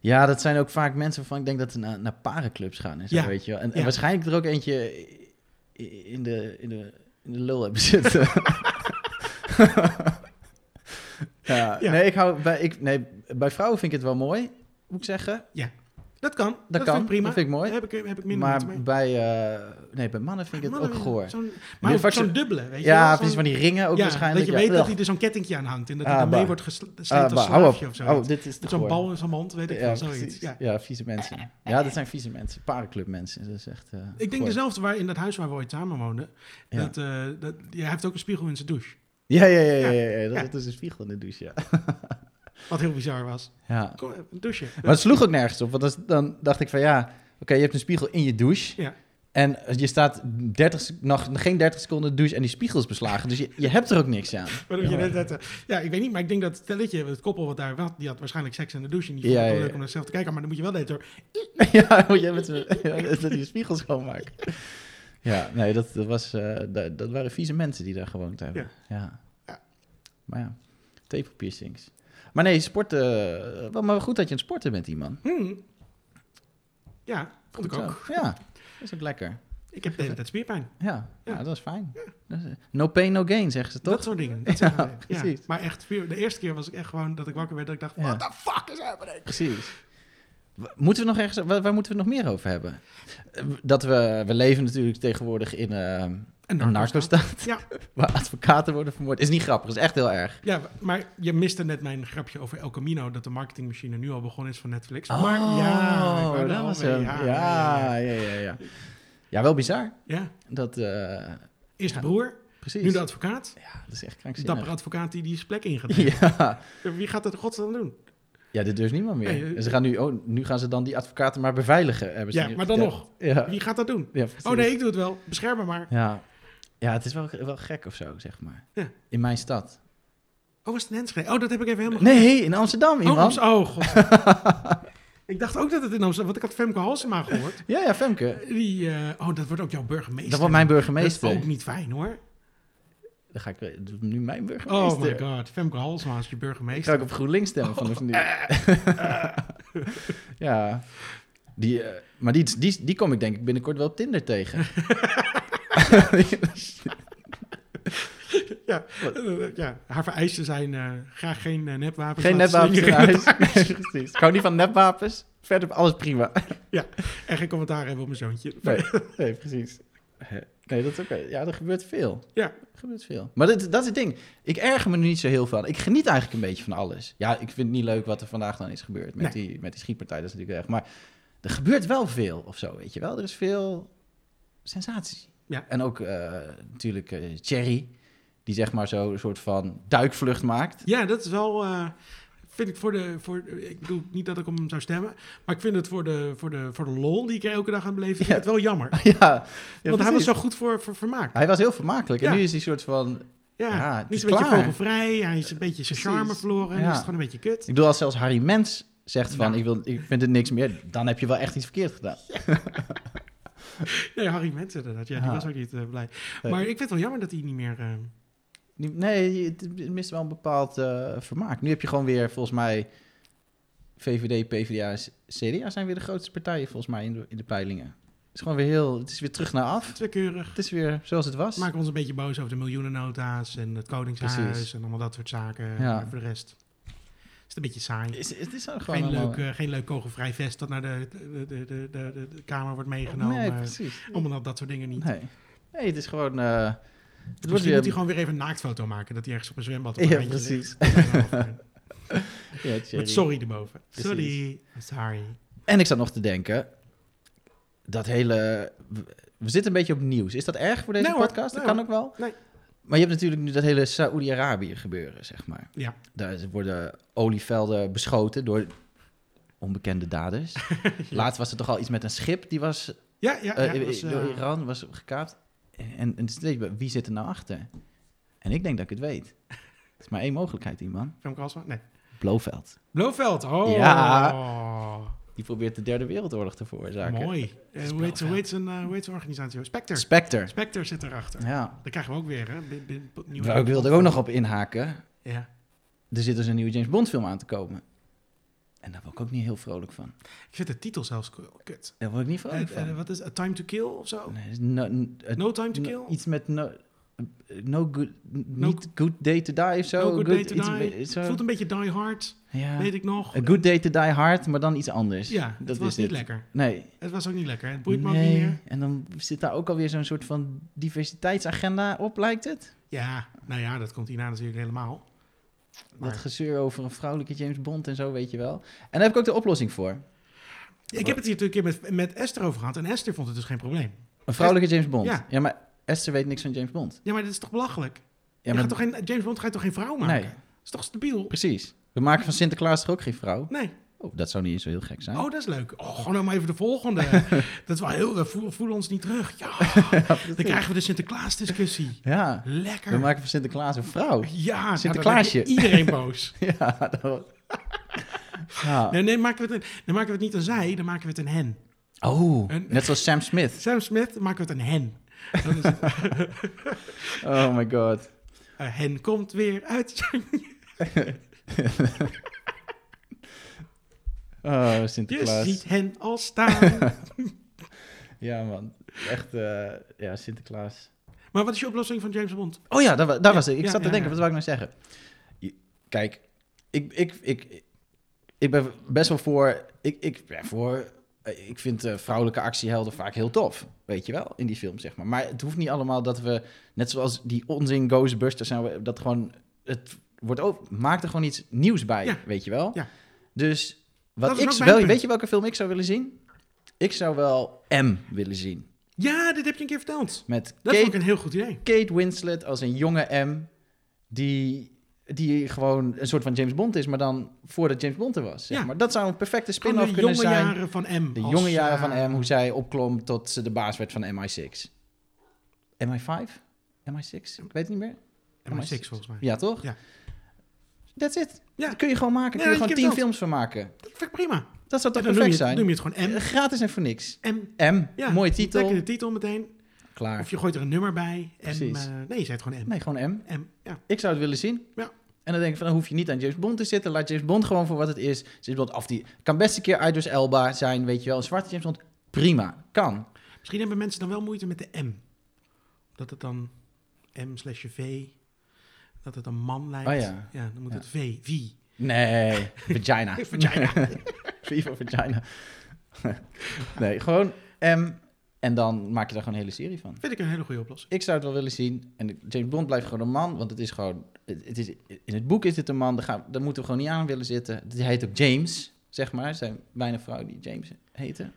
Speaker 2: ja, dat zijn ook vaak mensen waarvan ik denk dat ze naar, naar parenclubs gaan en zo,
Speaker 1: Ja.
Speaker 2: weet je wel. En, en
Speaker 1: Ja.
Speaker 2: waarschijnlijk er ook eentje i- in de, in de, in de lul hebben
Speaker 1: *laughs*
Speaker 2: zitten. ja,
Speaker 1: Ja.
Speaker 2: Nee, ik hou, bij, ik, nee, bij vrouwen vind ik het wel mooi, moet ik zeggen.
Speaker 1: Ja. Dat kan. Dat,
Speaker 2: kan,
Speaker 1: Vind ik prima.
Speaker 2: dat vind ik mooi.
Speaker 1: Daar heb ik, heb ik minder moeite
Speaker 2: Maar
Speaker 1: mee.
Speaker 2: bij, eh, nee, bij mannen vind ik het
Speaker 1: Mannen,
Speaker 2: ook goor.
Speaker 1: zo'n- Maar
Speaker 2: Nu
Speaker 1: ook
Speaker 2: vak-
Speaker 1: zo'n dubbele, weet je wel,
Speaker 2: Ja,
Speaker 1: zo'n-
Speaker 2: precies van die ringen ook
Speaker 1: ja, Dat
Speaker 2: waarschijnlijk.
Speaker 1: je
Speaker 2: ja.
Speaker 1: weet dat
Speaker 2: Ugh.
Speaker 1: hij er zo'n kettingje aan hangt en dat
Speaker 2: Ah,
Speaker 1: hij dan mee
Speaker 2: bah.
Speaker 1: wordt gesleept
Speaker 2: Ah,
Speaker 1: als
Speaker 2: bah, hou op.
Speaker 1: slaafje of zo.
Speaker 2: Oh, dit is te
Speaker 1: Met zo'n
Speaker 2: goor.
Speaker 1: bal in zijn mond, weet ik
Speaker 2: Ja,
Speaker 1: veel, zoiets.
Speaker 2: precies.
Speaker 1: Ja.
Speaker 2: ja. vieze mensen. Ja, dat zijn vieze mensen. Parenclubmensen. Dat is echt... eh,
Speaker 1: Ik denk dus
Speaker 2: goor.
Speaker 1: dezelfde waar in dat huis waar we ooit samen woonden.
Speaker 2: Ja.
Speaker 1: Dat, eh, dat, hij heeft ook een spiegel in zijn douche.
Speaker 2: Ja, ja, ja. ja, ja, ja.
Speaker 1: Ja.
Speaker 2: Dat, dat is een spiegel in de douche, ja.
Speaker 1: Wat heel bizar was.
Speaker 2: ja.
Speaker 1: Kom, eh, een douche.
Speaker 2: Maar het sloeg ook nergens op. Want als- dan dacht ik van ja, oké, je hebt een spiegel in je douche.
Speaker 1: Ja.
Speaker 2: En je staat 30, sec- nog geen 30 seconden in de douche en die spiegel is beslagen. Dus je, je hebt er ook niks aan.
Speaker 1: Waarom je net, net, eh, ja, ik weet niet, maar ik denk dat het stelletje, het koppel wat daar wat, die had waarschijnlijk seks in de douche. En die vond
Speaker 2: Ja,
Speaker 1: het wel
Speaker 2: ja,
Speaker 1: leuk
Speaker 2: ja.
Speaker 1: om naar zichzelf te kijken, maar dan moet je wel net door.
Speaker 2: *laughs* ja, want jij bent zo- ja, dat je spiegel schoonmaakt. Ja, nee, dat, dat, was, eh, dat, dat waren vieze mensen die daar gewoond hebben. Ja.
Speaker 1: Ja.
Speaker 2: Maar ja, tepelpiercings. Maar nee, sporten... eh, wel, maar goed dat je aan het sporten bent, die man.
Speaker 1: Hmm. Ja, vond ik
Speaker 2: Goed zo.
Speaker 1: ook.
Speaker 2: Ja, dat is ook lekker.
Speaker 1: Ik heb de hele tijd spierpijn.
Speaker 2: Ja, ja.
Speaker 1: Ja.
Speaker 2: dat is fijn. Dat is- eh, No pain, no gain, zeggen ze toch?
Speaker 1: Dat soort
Speaker 2: *laughs*
Speaker 1: dingen. Dat zeggen wij. ja,
Speaker 2: precies.
Speaker 1: Maar echt, spier- de eerste keer was ik echt gewoon dat ik wakker werd dat ik dacht,
Speaker 2: Ja.
Speaker 1: what the fuck is happening?
Speaker 2: Precies. W- Moeten we nog ergens, waar, waar moeten we het nog meer over hebben? Eh, Dat we, we leven natuurlijk tegenwoordig in eh, een narco-staat.
Speaker 1: Ja.
Speaker 2: *laughs* Waar advocaten worden vermoord. Is niet grappig, is echt heel erg.
Speaker 1: Ja, maar je miste net mijn grapje over El Camino, dat de marketingmachine nu al begonnen is van Netflix. Maar ja, ik wou er
Speaker 2: Oh, dat
Speaker 1: al
Speaker 2: was
Speaker 1: mee.
Speaker 2: hem. Ja, ja, ja, ja, ja. Ja, wel bizar.
Speaker 1: Ja,
Speaker 2: Dat, eh,
Speaker 1: eerst de broer,
Speaker 2: precies.
Speaker 1: nu de advocaat.
Speaker 2: Ja, dat is echt
Speaker 1: Dapper
Speaker 2: krankzinnig.
Speaker 1: advocaat die die plek ingaat.
Speaker 2: *laughs* Ja.
Speaker 1: Wie gaat dat in godsnaam doen?
Speaker 2: ja, dit durft niemand meer.
Speaker 1: Nee, eh,
Speaker 2: En ze gaan nu, oh, nu gaan ze dan die advocaten maar beveiligen. hebben ze
Speaker 1: Ja,
Speaker 2: nu
Speaker 1: maar dan
Speaker 2: verteld.
Speaker 1: nog.
Speaker 2: Ja.
Speaker 1: Wie gaat dat doen?
Speaker 2: Ja,
Speaker 1: Oh
Speaker 2: precies.
Speaker 1: nee, ik doe het wel. Bescherm me maar.
Speaker 2: Ja. ja, het is wel, wel gek of zo, zeg maar.
Speaker 1: Ja.
Speaker 2: In mijn stad.
Speaker 1: Oh, was het in Enschede? Oh, dat heb ik even helemaal...
Speaker 2: Nee, in Amsterdam,
Speaker 1: Oh,
Speaker 2: iemand.
Speaker 1: Amst- oh, god.
Speaker 2: *laughs*
Speaker 1: ik dacht ook dat het in Amsterdam... Want ik had Femke Halsema gehoord.
Speaker 2: Ja, ja, Femke.
Speaker 1: Die, eh, oh, dat wordt ook jouw burgemeester.
Speaker 2: Dat wordt mijn burgemeester.
Speaker 1: Dat is ook niet fijn, hoor.
Speaker 2: Dan ga ik eh, nu mijn
Speaker 1: Oh
Speaker 2: burgemeester.
Speaker 1: my god, Femke Halsema is je
Speaker 2: Ik ga
Speaker 1: burgemeester.
Speaker 2: ook op GroenLinks stemmen vanaf nu. *laughs* ja. Die, eh, maar die, die, die kom ik denk ik binnenkort wel op Tinder tegen.
Speaker 1: Ja, eh, ja, haar vereisten zijn eh, graag geen eh, nepwapens.
Speaker 2: Geen
Speaker 1: laten
Speaker 2: nepwapens in
Speaker 1: slingeren.
Speaker 2: huis. *laughs* Nee, precies. Ik hou niet van nepwapens. Verder alles prima.
Speaker 1: *laughs* En geen commentaar hebben op mijn zoontje.
Speaker 2: Nee, nee precies. Nee, dat is oké. Ja, er gebeurt veel.
Speaker 1: Ja.
Speaker 2: Er gebeurt veel. Maar dit, dat is het ding. Ik erger me nu niet zo heel veel aan. Ik geniet eigenlijk een beetje van alles. Ja, ik vind het niet leuk wat er vandaag dan is gebeurd met, die, met die schietpartij. Dat is natuurlijk erg. Maar er gebeurt wel veel of zo, weet je wel. Er is veel sensatie.
Speaker 1: Ja.
Speaker 2: En ook eh, natuurlijk eh Thierry, die zeg maar zo een soort van duikvlucht maakt.
Speaker 1: Ja, dat is wel. eh, vind ik voor de. Voor, ik bedoel niet dat ik om hem zou stemmen. Maar ik vind het voor de, voor de, voor de lol die ik er elke dag aan beleef. Vind ik
Speaker 2: Ja.
Speaker 1: het wel jammer.
Speaker 2: *laughs* ja, ja,
Speaker 1: Want hij
Speaker 2: precies.
Speaker 1: was zo goed voor, voor vermaakt.
Speaker 2: Hij was heel vermakelijk. En
Speaker 1: Ja.
Speaker 2: nu is hij soort van...
Speaker 1: Ja,
Speaker 2: Ja,
Speaker 1: ja
Speaker 2: het
Speaker 1: niet
Speaker 2: is
Speaker 1: een beetje
Speaker 2: klaar.
Speaker 1: vogelvrij. Hij is een beetje zijn
Speaker 2: Precies.
Speaker 1: charme verloren. En
Speaker 2: Ja.
Speaker 1: is het gewoon een beetje kut.
Speaker 2: Ik bedoel, als zelfs Harry Mens zegt van...
Speaker 1: Nou.
Speaker 2: Ik, wil, ik vind het niks meer, dan heb je wel echt iets verkeerd gedaan.
Speaker 1: Nee, Harry Mensen inderdaad. Ja, die
Speaker 2: Ja.
Speaker 1: was ook niet eh, blij.
Speaker 2: Nee.
Speaker 1: Maar ik vind het wel jammer dat hij niet meer... eh,
Speaker 2: Die- Nee, het het mist wel een bepaald eh, vermaak. Nu heb je gewoon weer, volgens mij, VVD, PvdA en CDA zijn weer de grootste partijen, volgens mij, in de, in de peilingen. Het is gewoon weer heel, het is weer terug naar af.
Speaker 1: het is weer keurig.
Speaker 2: Het is weer zoals het was.
Speaker 1: Maken ons een beetje boos over de miljoenennota's en het Koningshuis
Speaker 2: Precies.
Speaker 1: en allemaal dat soort zaken.
Speaker 2: Ja.
Speaker 1: Maar voor de rest is het een beetje saai.
Speaker 2: Is- het is gewoon
Speaker 1: Geen
Speaker 2: allemaal-
Speaker 1: leuk, eh, geen leuk kogelvrij vest dat naar de, de, de, de, de, de- de Kamer wordt meegenomen.
Speaker 2: Nee, precies.
Speaker 1: Allemaal dat soort dingen niet. Dus
Speaker 2: Nee. nee, het is gewoon... eh, het wordt
Speaker 1: Misschien
Speaker 2: weer...
Speaker 1: moet hij gewoon weer even een naaktfoto maken. Dat hij ergens op een zwembad op
Speaker 2: Ja,
Speaker 1: een randje
Speaker 2: precies.
Speaker 1: ligt.
Speaker 2: *laughs* Ja, Thierry.
Speaker 1: Met sorry erboven.
Speaker 2: Precies.
Speaker 1: Sorry. I'm sorry.
Speaker 2: En ik zat nog te denken, dat hele... we- We zitten een beetje op nieuws. Is dat erg voor deze
Speaker 1: Nee hoor,
Speaker 2: podcast? dat
Speaker 1: nee
Speaker 2: kan ook wel.
Speaker 1: Nee.
Speaker 2: Maar je hebt natuurlijk nu dat hele Saoedi-Arabië gebeuren, zeg maar.
Speaker 1: Ja.
Speaker 2: Daar is- worden olievelden beschoten door onbekende daders.
Speaker 1: *laughs*
Speaker 2: Laatst was er toch al iets met een schip die was,
Speaker 1: Ja, ja, ja,
Speaker 2: eh,
Speaker 1: was, eh,
Speaker 2: door Iran was gekaapt. En, en het is steeds bij, wie zit er nou achter? En ik denk dat ik het weet. Het is maar één mogelijkheid, die man.
Speaker 1: Femke Halsema? Nee.
Speaker 2: Blofeld.
Speaker 1: Blofeld. Oh.
Speaker 2: Die probeert de derde wereldoorlog te veroorzaken.
Speaker 1: Mooi. Eh, hoe, heet,
Speaker 2: Blofeld.
Speaker 1: hoe, heet zijn, eh, hoe heet zijn organisatie? Spectre.
Speaker 2: Spectre.
Speaker 1: Spectre zit erachter.
Speaker 2: Ja.
Speaker 1: Daar krijgen we ook weer, hè? Bi- bi- bi- nieuwe-
Speaker 2: Waar Nou, ik wilde er ook nog op inhaken.
Speaker 1: Ja.
Speaker 2: Er zit dus een nieuwe James Bond film aan te komen. En daar word ik ook niet heel vrolijk van.
Speaker 1: Ik vind de titel zelfs k- kut.
Speaker 2: Daar word Oh, ik niet vrolijk
Speaker 1: Eh, eh,
Speaker 2: van.
Speaker 1: wat is A Time to Kill of zo?
Speaker 2: Nee, het is no- n- het-
Speaker 1: No Time to
Speaker 2: No-
Speaker 1: Kill?
Speaker 2: Iets met no, No Good,
Speaker 1: No-
Speaker 2: niet good Day to Die of zo.
Speaker 1: No Good Day to
Speaker 2: iets-
Speaker 1: Die.
Speaker 2: iets- zo.
Speaker 1: voelt een beetje Die Hard,
Speaker 2: ja.
Speaker 1: weet ik nog.
Speaker 2: A Good Day to Die Hard, maar dan iets anders.
Speaker 1: ja,
Speaker 2: dat
Speaker 1: het
Speaker 2: is
Speaker 1: was niet
Speaker 2: het.
Speaker 1: lekker.
Speaker 2: Nee.
Speaker 1: Het was ook niet lekker. Het boeit me ook
Speaker 2: nee.
Speaker 1: niet meer.
Speaker 2: En dan zit daar ook alweer zo'n soort van diversiteitsagenda op, lijkt het?
Speaker 1: Ja, nou ja, dat komt hierna natuurlijk helemaal. Maar-
Speaker 2: Dat gezeur over een vrouwelijke James Bond en zo, weet je wel. En daar heb ik ook de oplossing voor.
Speaker 1: Ik heb het hier natuurlijk een keer met, met Esther over gehad. En Esther vond het dus geen probleem.
Speaker 2: Een vrouwelijke James Bond.
Speaker 1: Ja.
Speaker 2: Ja, maar Esther weet niks van James Bond.
Speaker 1: Ja, maar dat is toch belachelijk?
Speaker 2: Ja,
Speaker 1: je
Speaker 2: maar
Speaker 1: gaat toch geen, James Bond ga je toch geen vrouw maken?
Speaker 2: Nee.
Speaker 1: Dat is toch stabiel?
Speaker 2: precies. We maken van Sinterklaas toch ook geen vrouw?
Speaker 1: Nee.
Speaker 2: Oh, dat zou niet eens zo heel gek zijn.
Speaker 1: Oh, dat is leuk. Oh, gewoon nou maar even de
Speaker 2: *laughs*
Speaker 1: volgende. dat is wel heel... eh, Voel, voel ons niet terug. Ja, dan krijgen we de Sinterklaas-discussie.
Speaker 2: Ja,
Speaker 1: Lekker.
Speaker 2: we maken van Sinterklaas een vrouw.
Speaker 1: Ja, nou, dan
Speaker 2: Sinterklaasje.
Speaker 1: heb je iedereen boos.
Speaker 2: *laughs* ja, dat... ja.
Speaker 1: Nee, nee maken we het een- dan maken we het niet aan zij, dan maken we het aan hen.
Speaker 2: Oh,
Speaker 1: En-
Speaker 2: net zoals Sam Smith.
Speaker 1: Sam Smith, dan maken we het aan hen. Dan is
Speaker 2: *laughs*
Speaker 1: het, eh,
Speaker 2: Oh my god.
Speaker 1: hen komt weer uit. *laughs*
Speaker 2: Oh,
Speaker 1: Je
Speaker 2: Sinterklaas.
Speaker 1: ziet hen al
Speaker 2: *laughs*
Speaker 1: staan.
Speaker 2: Ja, man. Echt, eh, ja, Sinterklaas.
Speaker 1: maar wat is je oplossing van James Bond?
Speaker 2: Oh ja, daar, wa- daar was ik. Ik
Speaker 1: ja,
Speaker 2: zat te
Speaker 1: ja,
Speaker 2: denken,
Speaker 1: ja.
Speaker 2: wat wou ik nou zeggen? Je- Kijk, ik, ik, ik, ik ben best wel voor... Ik, ik ben voor... eh, Ik vind eh, vrouwelijke actiehelden vaak heel tof, weet je wel, in die film, zeg maar. Maar het hoeft niet allemaal dat we, net zoals die onzin Ghostbusters, zijn we, dat gewoon, het wordt ook, maak er gewoon iets nieuws bij,
Speaker 1: Ja.
Speaker 2: weet je wel.
Speaker 1: Ja.
Speaker 2: Dus wat
Speaker 1: Dat is
Speaker 2: ik,
Speaker 1: ook mijn
Speaker 2: wel,
Speaker 1: punt.
Speaker 2: weet je welke film ik zou willen zien? Ik zou wel M willen zien,
Speaker 1: Ja, dit heb je een keer verteld.
Speaker 2: met
Speaker 1: Dat
Speaker 2: Kate
Speaker 1: vond ik een heel goed idee.
Speaker 2: Kate Winslet als een jonge M. Die, die gewoon een soort van James Bond is, maar dan voordat James Bond er was. Zeg
Speaker 1: Ja.
Speaker 2: maar. Dat zou een perfecte
Speaker 1: Gewoon
Speaker 2: spin-off
Speaker 1: de
Speaker 2: kunnen
Speaker 1: jonge
Speaker 2: zijn.
Speaker 1: jaren van M.
Speaker 2: de
Speaker 1: als,
Speaker 2: jonge jaren
Speaker 1: eh,
Speaker 2: van M, hoe zij opklom tot ze de baas werd van MI6. MI5? MI6? Ik weet het niet meer.
Speaker 1: MI6 volgens mij.
Speaker 2: Ja, toch?
Speaker 1: Ja.
Speaker 2: That's it.
Speaker 1: Ja.
Speaker 2: Dat kun je gewoon maken.
Speaker 1: Ja,
Speaker 2: kun je
Speaker 1: ik
Speaker 2: gewoon
Speaker 1: heb
Speaker 2: tien
Speaker 1: dat.
Speaker 2: films van maken.
Speaker 1: Dat vind ik prima.
Speaker 2: Dat zou toch
Speaker 1: dan noem je,
Speaker 2: perfect
Speaker 1: het-
Speaker 2: zijn?
Speaker 1: noem je het gewoon M.
Speaker 2: Gratis en voor niks.
Speaker 1: M.
Speaker 2: M,
Speaker 1: Ja,
Speaker 2: mooie
Speaker 1: Lekker de
Speaker 2: titel.
Speaker 1: titel meteen. Of
Speaker 2: Klaar.
Speaker 1: je gooit er een nummer bij. M,
Speaker 2: Precies.
Speaker 1: eh, nee, je zegt gewoon M.
Speaker 2: Nee, gewoon M.
Speaker 1: M. Ja.
Speaker 2: Ik zou het willen zien.
Speaker 1: Ja.
Speaker 2: En dan denk ik van, dan hoef je niet aan James Bond te zitten. Laat James Bond gewoon voor wat het is. James Bond af die kan best een keer Idris Elba zijn, weet je wel. Een zwarte James Bond, prima, kan.
Speaker 1: Misschien hebben mensen dan wel moeite met de M. Dat het dan M slash V. Dat het een man lijkt.
Speaker 2: Oh ja.
Speaker 1: dan moet
Speaker 2: Ja.
Speaker 1: het V. V. *laughs*
Speaker 2: Nee, vagina. *laughs*
Speaker 1: Vagina.
Speaker 2: Viva vagina. nee, gewoon M en dan maak je daar gewoon een hele serie van.
Speaker 1: Vind ik een hele goede oplossing.
Speaker 2: Ik zou het wel willen zien. En James Bond blijft gewoon een man, want het is gewoon... Het, het is, in het boek is het een man, daar, gaan, daar moeten we gewoon niet aan willen zitten. Die heet ook James, zeg maar. Er zijn weinig vrouwen die James heten.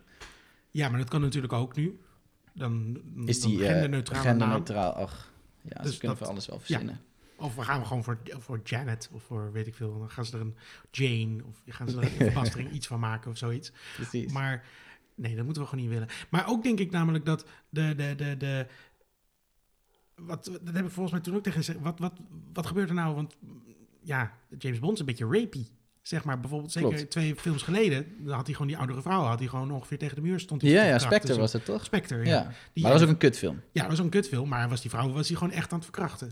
Speaker 1: Ja, maar dat kan natuurlijk ook nu. Dan,
Speaker 2: Is
Speaker 1: dan
Speaker 2: die eh,
Speaker 1: genderneutrale naam.
Speaker 2: genderneutraal? Ach, ja,
Speaker 1: Dus
Speaker 2: ze kunnen
Speaker 1: dat-
Speaker 2: voor alles wel verzinnen.
Speaker 1: Of we gaan we gewoon voor, voor Janet of voor weet ik veel. Dan gaan ze er een Jane of gaan ze er
Speaker 2: *laughs*
Speaker 1: een verbastering iets van maken of zoiets.
Speaker 2: Precies.
Speaker 1: Maar nee, dat moeten we gewoon niet willen. Maar ook denk ik namelijk dat de. de, de, de wat, dat heb ik volgens mij toen ook tegen gezegd. Wat, wat, wat gebeurt er nou? Want ja, James Bond is een beetje rapey. Zeg maar bijvoorbeeld, zeker
Speaker 2: Klopt.
Speaker 1: twee films geleden. dan had hij gewoon die oudere vrouw. had hij gewoon ongeveer tegen de muur stond. hij
Speaker 2: ja,
Speaker 1: te
Speaker 2: ja,
Speaker 1: verkrachten.
Speaker 2: Spectre
Speaker 1: Zo-
Speaker 2: was het toch?
Speaker 1: Spectre, dus ja.
Speaker 2: Ja.
Speaker 1: Die-
Speaker 2: Maar dat was ook een kutfilm.
Speaker 1: ja, dat was een kutfilm, maar was die vrouw was die gewoon echt aan het verkrachten.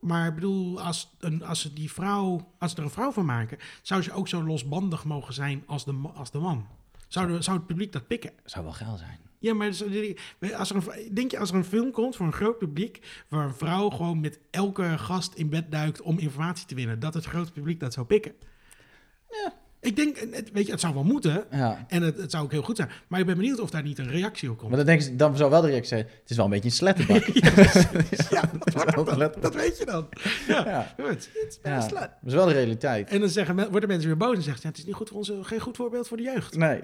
Speaker 1: Maar ik bedoel, als, een, als ze die vrouw, als ze er een vrouw van maken, zou ze ook zo losbandig mogen zijn als de, ma- als de man. Zou, de- zou het publiek dat pikken?
Speaker 2: Zou wel geil zijn.
Speaker 1: Ja, maar dus- als er een, denk je als er een film komt voor een groot publiek, waar een vrouw gewoon met elke gast in bed duikt om informatie te winnen, dat het grote publiek dat zou pikken?
Speaker 2: Ja.
Speaker 1: Ik denk, het, weet je, het zou wel moeten
Speaker 2: Ja.
Speaker 1: en het, het zou ook heel goed zijn. Maar ik ben benieuwd of daar niet een reactie op komt.
Speaker 2: Maar dan denken ze, dan zou wel de reactie zijn, het is wel een beetje een slettenbak. ja,
Speaker 1: *laughs* Ja, dat,
Speaker 2: is wel
Speaker 1: *laughs*
Speaker 2: gelet-
Speaker 1: dat weet je dan. Ja,
Speaker 2: Ja.
Speaker 1: goed. Het is
Speaker 2: ja,
Speaker 1: best
Speaker 2: dat
Speaker 1: laat.
Speaker 2: is wel de realiteit.
Speaker 1: En dan zeggen, men- worden mensen weer boos en zeggen... Ja, het is niet goed voor onze, geen goed voorbeeld voor de jeugd. Eh,
Speaker 2: Nee.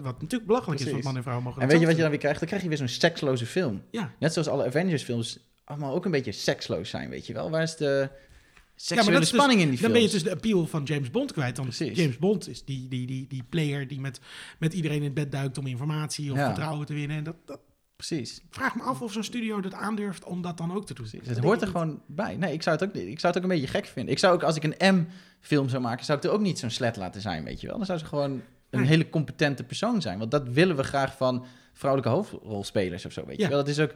Speaker 1: Wat natuurlijk belachelijk is,
Speaker 2: Precies.
Speaker 1: want man en vrouw mogen dat
Speaker 2: En weet je wat je
Speaker 1: zelf
Speaker 2: dan weer krijgt? Dan krijg je weer zo'n seksloze film.
Speaker 1: doen. Ja.
Speaker 2: Net zoals alle Avengers films allemaal ook een beetje seksloos zijn, weet je wel. Waar is de
Speaker 1: Ja, maar
Speaker 2: seksuele
Speaker 1: dat is dus-
Speaker 2: spanning in die
Speaker 1: Dan
Speaker 2: films?
Speaker 1: ben je dus de appeal van James Bond kwijt. Want
Speaker 2: Precies.
Speaker 1: James Bond is die, die, die, die player die met, met iedereen in bed duikt om informatie of
Speaker 2: Ja.
Speaker 1: vertrouwen te winnen. En dat, dat
Speaker 2: Precies.
Speaker 1: vraag me af of zo'n studio dat aandurft om dat dan ook te doen.
Speaker 2: Dus het hoort er gewoon bij. Nee, ik zou het ook niet. Ik zou het ook een beetje gek vinden. Ik zou ook, als ik een M-film zou maken, zou ik er ook niet zo'n slet laten zijn, weet je wel. Dan zou ze gewoon een
Speaker 1: Nee.
Speaker 2: hele competente persoon zijn. Want dat willen we graag van vrouwelijke hoofdrolspelers of zo, weet
Speaker 1: Ja.
Speaker 2: je wel. Dat is ook...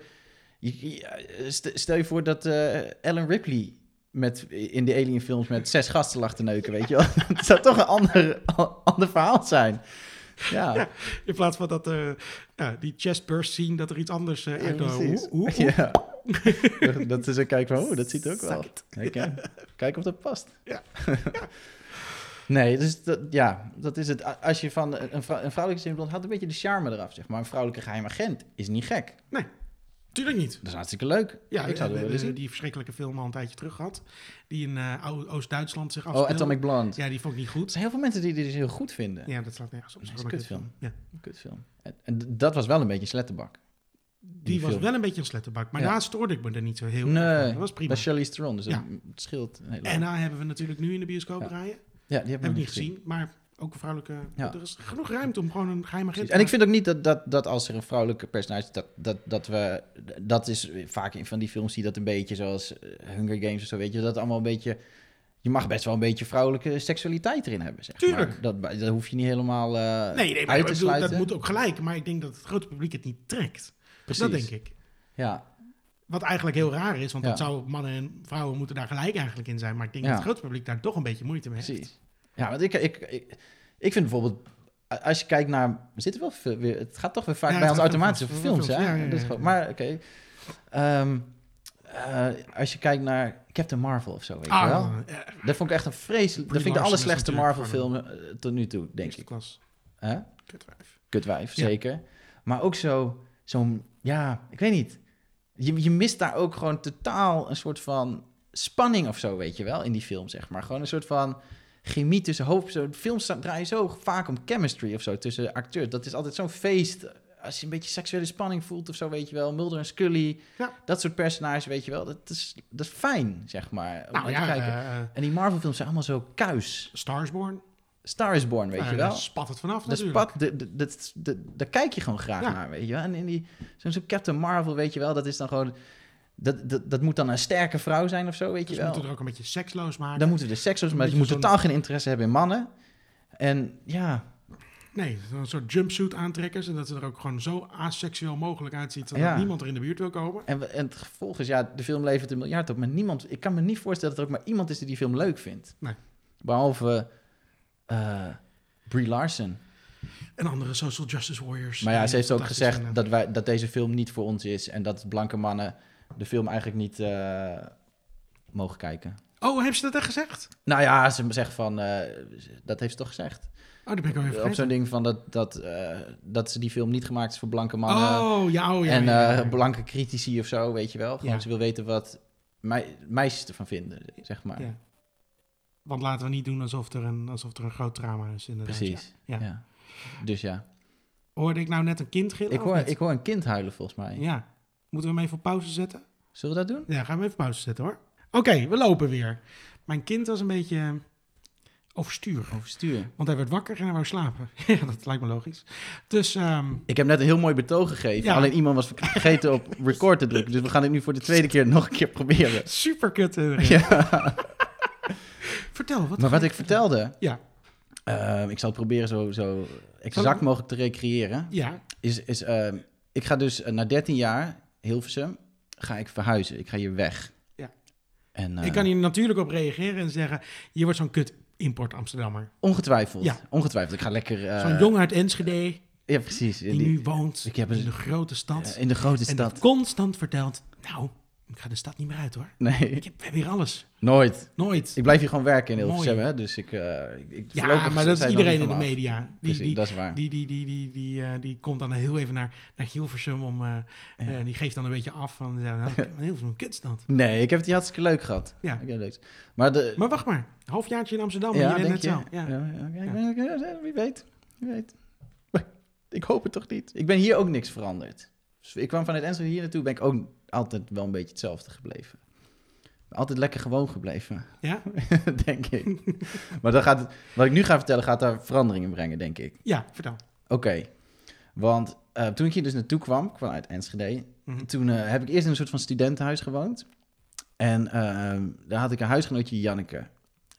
Speaker 2: je- je- st- Stel je voor dat eh Ellen Ripley met, in de Alien films met zes gasten lag te neuken, weet je wel. *laughs* Het zou toch een ander, ander verhaal zijn. Ja, ja,
Speaker 1: In plaats van dat, eh, ja, die chest burst scene, dat er iets anders eh uit de
Speaker 2: precies.
Speaker 1: hoe- hoe-
Speaker 2: Ja. *laughs* dat is een kijk van, oh, dat ziet er ook wel. Kijk, hè. kijk of dat past.
Speaker 1: Ja.
Speaker 2: *laughs* nee, dus dat, ja, dat is het. A- Als je van een, vrou- een vrouwelijke simultant had een beetje de charme eraf, zeg maar. Een vrouwelijke geheim agent is niet gek.
Speaker 1: Nee, tuurlijk niet.
Speaker 2: Dat is hartstikke leuk.
Speaker 1: Ja,
Speaker 2: ik zou
Speaker 1: we
Speaker 2: het wel willen
Speaker 1: hebben
Speaker 2: zien.
Speaker 1: die verschrikkelijke film al een tijdje terug gehad. Die in eh, Ou- Oost-Duitsland zich
Speaker 2: Oh,
Speaker 1: afspeelde.
Speaker 2: Atomic Blonde.
Speaker 1: Ja, die vond ik niet
Speaker 2: Er
Speaker 1: goed.
Speaker 2: zijn heel veel mensen die dit dus heel goed vinden.
Speaker 1: Ja, dat slaat nergens op.
Speaker 2: Dat is
Speaker 1: Zo'n
Speaker 2: een kutfilm.
Speaker 1: Ja.
Speaker 2: Kutfilm. En, en d- dat was wel een beetje sletterbak.
Speaker 1: Die was
Speaker 2: film.
Speaker 1: wel een beetje een sletterbak. Maar
Speaker 2: Ja.
Speaker 1: daar stoorde ik me er niet zo heel erg aan.
Speaker 2: Nee,
Speaker 1: Dat was prima.
Speaker 2: Dat is Charlize Theron, dus
Speaker 1: Ja.
Speaker 2: dat- het scheelt heel erg.
Speaker 1: En daar hebben we natuurlijk nu in de bioscoop
Speaker 2: Ja.
Speaker 1: draaien.
Speaker 2: Ja, die hebben
Speaker 1: Heb
Speaker 2: we
Speaker 1: ik niet gezien, maar ook een vrouwelijke...
Speaker 2: Ja.
Speaker 1: Er is genoeg ruimte om gewoon een geheime agent
Speaker 2: En ik vind ook niet dat, dat, dat als er een vrouwelijke personage... Dat, dat, dat we... Dat is vaak in van die films zie je dat een beetje zoals eh, Hunger Games of zo, weet je. Dat het allemaal een beetje... Je mag best wel een beetje vrouwelijke seksualiteit erin hebben, zeg
Speaker 1: Tuurlijk.
Speaker 2: maar. Dat, dat hoef je niet helemaal eh
Speaker 1: Nee, nee maar
Speaker 2: uit
Speaker 1: ik
Speaker 2: te
Speaker 1: bedoel,
Speaker 2: sluiten.
Speaker 1: dat moet ook gelijk. Maar ik denk dat het grote publiek het niet trekt.
Speaker 2: Precies.
Speaker 1: Dat denk ik.
Speaker 2: Ja,
Speaker 1: Wat eigenlijk heel raar is, want
Speaker 2: Ja.
Speaker 1: dat zou mannen en vrouwen moeten daar gelijk eigenlijk in zijn. Maar ik denk
Speaker 2: Ja.
Speaker 1: dat het grote publiek daar toch een beetje moeite mee heeft.
Speaker 2: precies. Ja, want ik, ik, ik, ik vind bijvoorbeeld... Als je kijkt naar... We zitten wel veel, weer, het gaat toch weer vaak
Speaker 1: Ja,
Speaker 2: bij
Speaker 1: het
Speaker 2: ons
Speaker 1: gaat heel
Speaker 2: automatisch
Speaker 1: veel
Speaker 2: over
Speaker 1: over
Speaker 2: films,
Speaker 1: films.
Speaker 2: hè?
Speaker 1: Ja, ja,
Speaker 2: Dat is
Speaker 1: ja,
Speaker 2: gewoon-
Speaker 1: ja.
Speaker 2: Maar, oké. Ehm, eh, als je kijkt naar Captain Marvel of zo, weet je
Speaker 1: Ah,
Speaker 2: wel?
Speaker 1: eh,
Speaker 2: Dat vond ik echt een vreselijk. Dat
Speaker 1: Brie
Speaker 2: vind ik de
Speaker 1: Larson is
Speaker 2: allerslechtste
Speaker 1: natuurlijk
Speaker 2: Marvel-film eh, tot nu toe, denk
Speaker 1: eerste
Speaker 2: ik.
Speaker 1: klas.
Speaker 2: Hè?
Speaker 1: Kutwijf.
Speaker 2: Kutwijf,
Speaker 1: Ja.
Speaker 2: zeker. Maar ook zo, zo'n, ja, ik weet niet. Je, je mist daar ook gewoon totaal een soort van spanning of zo, weet je wel, in die film, zeg maar. Gewoon een soort van chemie tussen hoofd. zo- Films sta- draaien zo vaak om chemistry of zo tussen acteurs. Dat is altijd zo'n feest. Als je een beetje seksuele spanning voelt of zo, weet je wel. Mulder en Scully,
Speaker 1: Ja.
Speaker 2: dat soort personages, weet je wel. Dat is, dat is fijn, zeg maar. om
Speaker 1: Nou
Speaker 2: naar
Speaker 1: ja,
Speaker 2: te kijken.
Speaker 1: eh, eh,
Speaker 2: En die Marvel-films zijn allemaal zo kuis.
Speaker 1: Starsborn.
Speaker 2: Star is Born, weet
Speaker 1: Nou,
Speaker 2: je
Speaker 1: daar
Speaker 2: wel.
Speaker 1: spat het vanaf
Speaker 2: Dat
Speaker 1: natuurlijk.
Speaker 2: spat, de- de- dat- de- daar kijk je gewoon graag
Speaker 1: Ja.
Speaker 2: naar, weet je wel. En in die, zo'n zo'n Captain Marvel, weet je wel, dat is dan gewoon... Dat, dat, dat moet dan een sterke vrouw zijn of zo, weet je
Speaker 1: Dus we
Speaker 2: wel.
Speaker 1: moeten er ook een beetje seksloos maken.
Speaker 2: Dan moeten de seksos, maar
Speaker 1: Beetje
Speaker 2: je moet
Speaker 1: zo'n-
Speaker 2: totaal geen interesse hebben in mannen. En ja,
Speaker 1: Nee, een soort jumpsuit aantrekken. Zodat ze er ook gewoon zo aseksueel mogelijk uitziet. Zodat
Speaker 2: Ja.
Speaker 1: niemand er in de buurt wil komen.
Speaker 2: en, we- en het gevolg is, ja, de film levert een miljard op. Maar niemand, ik kan me niet voorstellen dat er ook maar iemand is die die film leuk vindt.
Speaker 1: Nee.
Speaker 2: Behalve eh, Brie Larson.
Speaker 1: En andere social justice warriors.
Speaker 2: Maar ja,
Speaker 1: die
Speaker 2: ze heeft ook
Speaker 1: fantastisch zijn
Speaker 2: gezegd
Speaker 1: en-
Speaker 2: dat, wij, dat deze film niet voor ons is en dat blanke mannen de film eigenlijk niet eh, mogen kijken.
Speaker 1: Oh, heeft ze dat echt gezegd?
Speaker 2: Nou ja, ze zegt van, eh, dat heeft ze toch gezegd.
Speaker 1: Oh, dat ben ik al even
Speaker 2: Op
Speaker 1: vergeten.
Speaker 2: zo'n ding van dat, dat, eh, dat ze die film niet gemaakt is voor blanke mannen
Speaker 1: Oh, ja, oh, ja.
Speaker 2: eh, en
Speaker 1: ja, ja.
Speaker 2: eh, blanke critici of zo, weet je wel. Gewoon
Speaker 1: Ja.
Speaker 2: ze wil weten wat mei- meisjes ervan vinden, zeg maar.
Speaker 1: Ja. Want laten we niet doen alsof er een, alsof er een groot drama is. Inderdaad.
Speaker 2: Precies.
Speaker 1: Ja.
Speaker 2: Ja.
Speaker 1: Ja.
Speaker 2: Dus ja,
Speaker 1: Hoorde ik nou net een kind gillen?
Speaker 2: ik
Speaker 1: of
Speaker 2: hoor,
Speaker 1: niet?
Speaker 2: ik hoor een kind huilen volgens mij.
Speaker 1: Ja. Moeten we hem even op pauze zetten?
Speaker 2: Zullen we dat doen?
Speaker 1: Ja, gaan we even pauze zetten hoor. Oké, we lopen weer. Mijn kind was een beetje eh, overstuur.
Speaker 2: Overstuur.
Speaker 1: Want hij werd wakker en hij wou slapen. *laughs* ja, dat lijkt me logisch. Dus ehm,
Speaker 2: Ik heb net een heel mooi betoog gegeven.
Speaker 1: Ja.
Speaker 2: Alleen iemand was vergeten op record te drukken. Dus we gaan het nu voor de tweede keer nog een keer proberen.
Speaker 1: super kut.
Speaker 2: *laughs*
Speaker 1: eh,
Speaker 2: Ja.
Speaker 1: Vertel, wat
Speaker 2: Maar wat ik vertelde,
Speaker 1: Ja,
Speaker 2: ehm, ik zal het proberen zo, zo
Speaker 1: Zal ik-
Speaker 2: exact mogelijk te recreëren.
Speaker 1: ja.
Speaker 2: Is, is, ehm, ik ga dus eh, na 13 jaar, Hilversum, ga ik verhuizen. Ik ga hier weg.
Speaker 1: Ja.
Speaker 2: En, eh,
Speaker 1: Ik kan hier natuurlijk op reageren en zeggen... je wordt zo'n kut import Amsterdammer.
Speaker 2: Ongetwijfeld.
Speaker 1: Ja.
Speaker 2: Ongetwijfeld. Ik ga lekker... eh,
Speaker 1: Zo'n jongen uit Enschede
Speaker 2: Ja, precies. In
Speaker 1: die,
Speaker 2: die-
Speaker 1: nu woont
Speaker 2: ik heb
Speaker 1: in
Speaker 2: een-
Speaker 1: de grote stad.
Speaker 2: eh, in de grote
Speaker 1: en
Speaker 2: stad.
Speaker 1: dat constant vertelt... nou, ik ga de stad niet meer uit hoor.
Speaker 2: Nee,
Speaker 1: Ik heb, we hebben hier alles.
Speaker 2: nooit.
Speaker 1: Nooit.
Speaker 2: Ik blijf hier gewoon werken in
Speaker 1: Mooi.
Speaker 2: Hilversum, hè. Dus ik... eh, ik- ik
Speaker 1: Ja,
Speaker 2: voorlopig
Speaker 1: maar dat is
Speaker 2: zijn we
Speaker 1: iedereen
Speaker 2: nog niet
Speaker 1: in de
Speaker 2: vanaf.
Speaker 1: media. Die,
Speaker 2: Precies,
Speaker 1: die,
Speaker 2: dat is waar.
Speaker 1: die, die, die, die, die, eh, die komt dan heel even naar, naar Hilversum om... eh, eh, die geeft dan een beetje af van... ja, nou, Hilversum, een kutstad.
Speaker 2: Nee, ik heb het hier hartstikke leuk gehad.
Speaker 1: Ja.
Speaker 2: Ik heb het leuk. Maar de...
Speaker 1: Maar wacht maar. Halfjaartje in Amsterdam.
Speaker 2: ja,
Speaker 1: je bent
Speaker 2: denk
Speaker 1: net
Speaker 2: je?
Speaker 1: zo. Ja.
Speaker 2: Ja. oké, ik ben- ja, Wie weet. Wie weet. *laughs* Ik hoop het toch niet. Ik ben hier ook niks veranderd. Dus ik kwam vanuit Enschede hier naartoe, ben ik ook altijd wel een beetje hetzelfde gebleven. Altijd lekker gewoon gebleven, *laughs*
Speaker 1: ja?
Speaker 2: denk ik.
Speaker 1: *laughs*
Speaker 2: maar dan gaat het, wat ik nu ga vertellen, gaat daar verandering in brengen, denk ik.
Speaker 1: Ja, vertel.
Speaker 2: Oké. Want eh, toen ik hier dus naartoe kwam, kwam uit Enschede,
Speaker 1: Mhm.
Speaker 2: toen eh, heb ik eerst in een soort van studentenhuis gewoond. En ehm, daar had ik een huisgenootje, Janneke.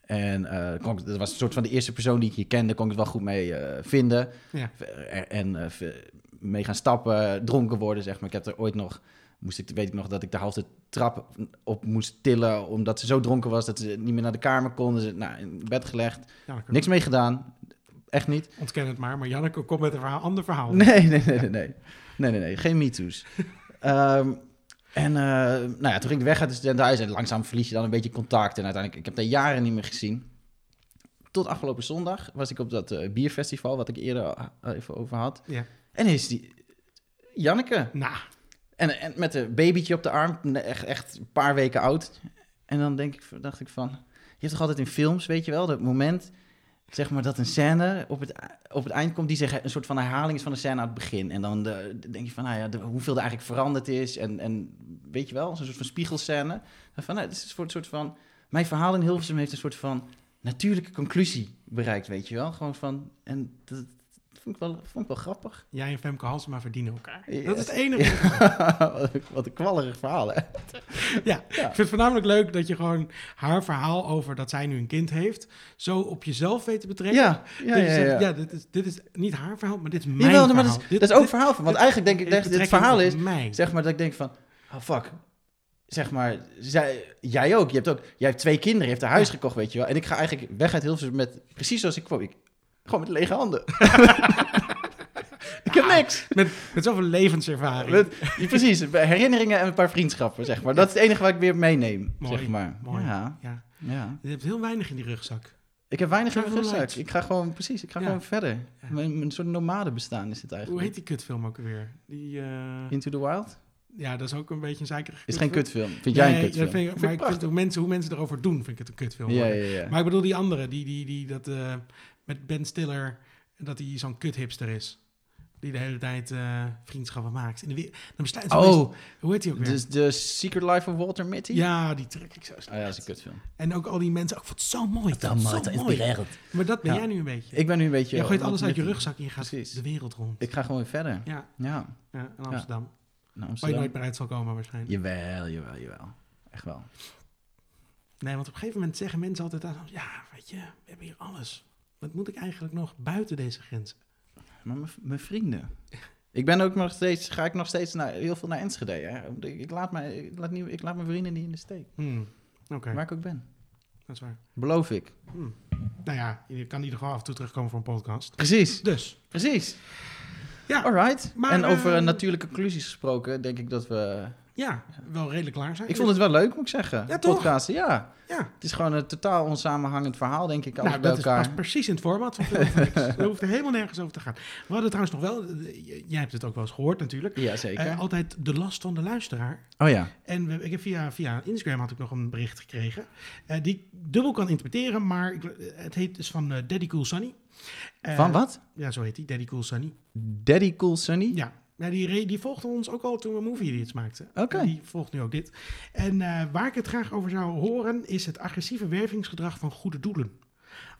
Speaker 2: En eh, kon ik- dat was een soort van de eerste persoon die ik hier kende, kon ik het wel goed mee eh, vinden.
Speaker 1: Ja.
Speaker 2: En, en eh, ve- mee gaan stappen, dronken worden, zeg maar. Ik heb er ooit nog, moest ik, weet ik nog, dat ik de halve trap op moest tillen, omdat ze zo dronken was dat ze niet meer naar de kamer kon. Dus, nou, in bed gelegd,
Speaker 1: Janneke,
Speaker 2: niks mee gedaan, echt niet.
Speaker 1: Ontken het maar. Maar Janneke komt met een verhaal, ander verhaal.
Speaker 2: Nee, nee, nee, nee. Nee, nee, nee. nee. Geen MeToo's. Ehm, En eh, nou ja, toen ging ik weg uit het studentenhuis en langzaam verlies je dan een beetje contact. En uiteindelijk, ik heb daar jaren niet meer gezien. Tot afgelopen zondag was ik op dat eh, bierfestival, wat ik eerder eh, even over had.
Speaker 1: Ja.
Speaker 2: En is die Janneke.
Speaker 1: Nou,
Speaker 2: En, en met een babytje op de arm, ne- echt, echt een paar weken oud. En dan denk ik, dacht ik van... Je hebt toch altijd in films, weet je wel, dat moment... Zeg maar dat een scène op het, op het eind komt die zeg, een soort van herhaling is van een scène aan het begin. En dan de- denk je van, nou ja, de- hoeveel er eigenlijk veranderd is. En, en weet je wel, zo'n soort van spiegelscène. En Van, nou, het is een soort, soort van... Mijn verhaal in Hilversum heeft een soort van natuurlijke conclusie bereikt, weet je wel. Gewoon van... En dat vond ik wel, vond ik wel grappig.
Speaker 1: jij en Femke Halsema verdienen elkaar.
Speaker 2: Ja.
Speaker 1: Dat is het enige.
Speaker 2: Ja, *laughs* wat een- wat een kwallerig verhaal, hè?
Speaker 1: Ja, ik vind het voornamelijk leuk dat je gewoon haar verhaal over dat zij nu een kind heeft, zo op jezelf weet te betrekken.
Speaker 2: ja,
Speaker 1: dat je
Speaker 2: ja,
Speaker 1: zegt,
Speaker 2: ja.
Speaker 1: ja, dit, is, dit is niet haar verhaal, maar dit is mijn
Speaker 2: Jawel,
Speaker 1: verhaal.
Speaker 2: maar dat is,
Speaker 1: Dit-
Speaker 2: dat is ook
Speaker 1: dit-
Speaker 2: verhaal van. Want
Speaker 1: dit-
Speaker 2: eigenlijk denk ik dat het
Speaker 1: betrekking
Speaker 2: verhaal
Speaker 1: op
Speaker 2: is,
Speaker 1: mij.
Speaker 2: zeg maar, dat ik denk van, ah fuck, zeg maar, zij, jij ook, je hebt ook, jij hebt twee kinderen, je hebt een huis gekocht, weet je wel. En ik ga eigenlijk weg uit Hilversum met, precies zoals ik kwam, ik, gewoon met lege
Speaker 1: *laughs*
Speaker 2: handen. ik heb
Speaker 1: Ah,
Speaker 2: niks.
Speaker 1: Met, met zoveel levenservaring.
Speaker 2: Met- ja, precies, herinneringen en een paar vriendschappen, zeg maar. Dat is het enige wat ik weer meeneem,
Speaker 1: Mooi,
Speaker 2: zeg maar.
Speaker 1: mooi.
Speaker 2: Ja,
Speaker 1: Ja,
Speaker 2: ja.
Speaker 1: je hebt heel weinig in die rugzak.
Speaker 2: Ik heb weinig in mijn
Speaker 1: Travel
Speaker 2: rugzak.
Speaker 1: light.
Speaker 2: Ik ga gewoon, precies, ik ga
Speaker 1: Ja.
Speaker 2: gewoon verder.
Speaker 1: Ja.
Speaker 2: Mijn, mijn soort nomade bestaan is het
Speaker 1: Hoe
Speaker 2: eigenlijk.
Speaker 1: heet die kutfilm ook weer? Die, eh,
Speaker 2: Into the Wild?
Speaker 1: ja, dat is ook een beetje een zeikerige
Speaker 2: Is geen
Speaker 1: kutfilm.
Speaker 2: kutfilm. Vind jij een
Speaker 1: Nee,
Speaker 2: kutfilm?
Speaker 1: dat vind ik- maar ik vind hoe mensen, hoe mensen erover doen, vind ik het een kutfilm.
Speaker 2: ja,
Speaker 1: worden.
Speaker 2: ja, ja.
Speaker 1: Maar ik bedoel die andere, die, die, die dat eh, met Ben Stiller, dat hij zo'n kuthipster is. Die de hele tijd eh, vriendschappen maakt. En dan besluit ze
Speaker 2: Oh.
Speaker 1: meestal- hoe heet die ook weer?
Speaker 2: Dus The Secret Life of Walter Mitty?
Speaker 1: ja, die trek ik zo
Speaker 2: Ah
Speaker 1: slecht.
Speaker 2: ja, dat is een kutfilm.
Speaker 1: En ook al die mensen, oh, ik vond het zo mooi. Dat is zo mooi. Maar dat ben
Speaker 2: Ja.
Speaker 1: jij nu een beetje.
Speaker 2: Ik ben nu een beetje...
Speaker 1: Je gooit
Speaker 2: Walter
Speaker 1: alles uit je
Speaker 2: Mitty.
Speaker 1: rugzak en je gaat
Speaker 2: Precies.
Speaker 1: de wereld rond.
Speaker 2: Ik ga gewoon verder.
Speaker 1: Ja,
Speaker 2: Ja,
Speaker 1: ja in Amsterdam.
Speaker 2: naar
Speaker 1: Waar je
Speaker 2: Amsterdam.
Speaker 1: nooit meer uit zal komen waarschijnlijk.
Speaker 2: Jawel, jawel, jawel. Echt wel.
Speaker 1: Nee, want op een gegeven moment zeggen mensen altijd, aan, ja, weet je, we hebben hier alles. Wat moet ik eigenlijk nog buiten deze grenzen?
Speaker 2: Maar mijn- mijn vrienden. Ik ben ook nog steeds, ga ik nog steeds naar, heel veel naar Enschede. Hè? Omdat Ik, ik, laat mijn, ik, laat niet, ik laat mijn vrienden niet in de steek.
Speaker 1: Hmm, Oké,
Speaker 2: Waar ik ook ben.
Speaker 1: dat is waar.
Speaker 2: Beloof ik.
Speaker 1: Hmm. Nou ja, je kan in ieder geval af en toe terugkomen voor een podcast.
Speaker 2: Precies.
Speaker 1: Dus,
Speaker 2: Precies.
Speaker 1: Ja,
Speaker 2: Alright.
Speaker 1: maar,
Speaker 2: en over
Speaker 1: eh,
Speaker 2: eh, natuurlijke conclusies gesproken, denk ik dat we...
Speaker 1: ja, wel redelijk klaar zijn.
Speaker 2: Ik vond het wel leuk, moet ik zeggen.
Speaker 1: Ja, toch?
Speaker 2: Podcasten, ja.
Speaker 1: Ja,
Speaker 2: Het is gewoon een totaal onsamenhangend verhaal, denk ik, alles
Speaker 1: nou,
Speaker 2: bij
Speaker 1: dat is
Speaker 2: elkaar.
Speaker 1: pas precies in het format van Film Flex.
Speaker 2: *laughs*
Speaker 1: Er hoeft er helemaal nergens over te gaan. We hadden trouwens nog wel, eh, j- jij hebt het ook wel eens gehoord natuurlijk,
Speaker 2: Ja, zeker.
Speaker 1: Eh, altijd de last van de luisteraar.
Speaker 2: oh ja.
Speaker 1: En we, ik heb via, via Instagram had ik nog een bericht gekregen. eh, die ik dubbel kan interpreteren, maar ik- het heet dus van eh, Daddy Cool Sunny. Eh,
Speaker 2: Van wat?
Speaker 1: Ja, zo heet die, Daddy Cool Sunny.
Speaker 2: Daddy Cool Sunny?
Speaker 1: Ja, ja die, re- die volgde ons ook al toen we Movie Idiots maakten.
Speaker 2: Oké.
Speaker 1: En Die volgt nu ook dit. En eh, waar ik het graag over zou horen, is het agressieve wervingsgedrag van goede doelen.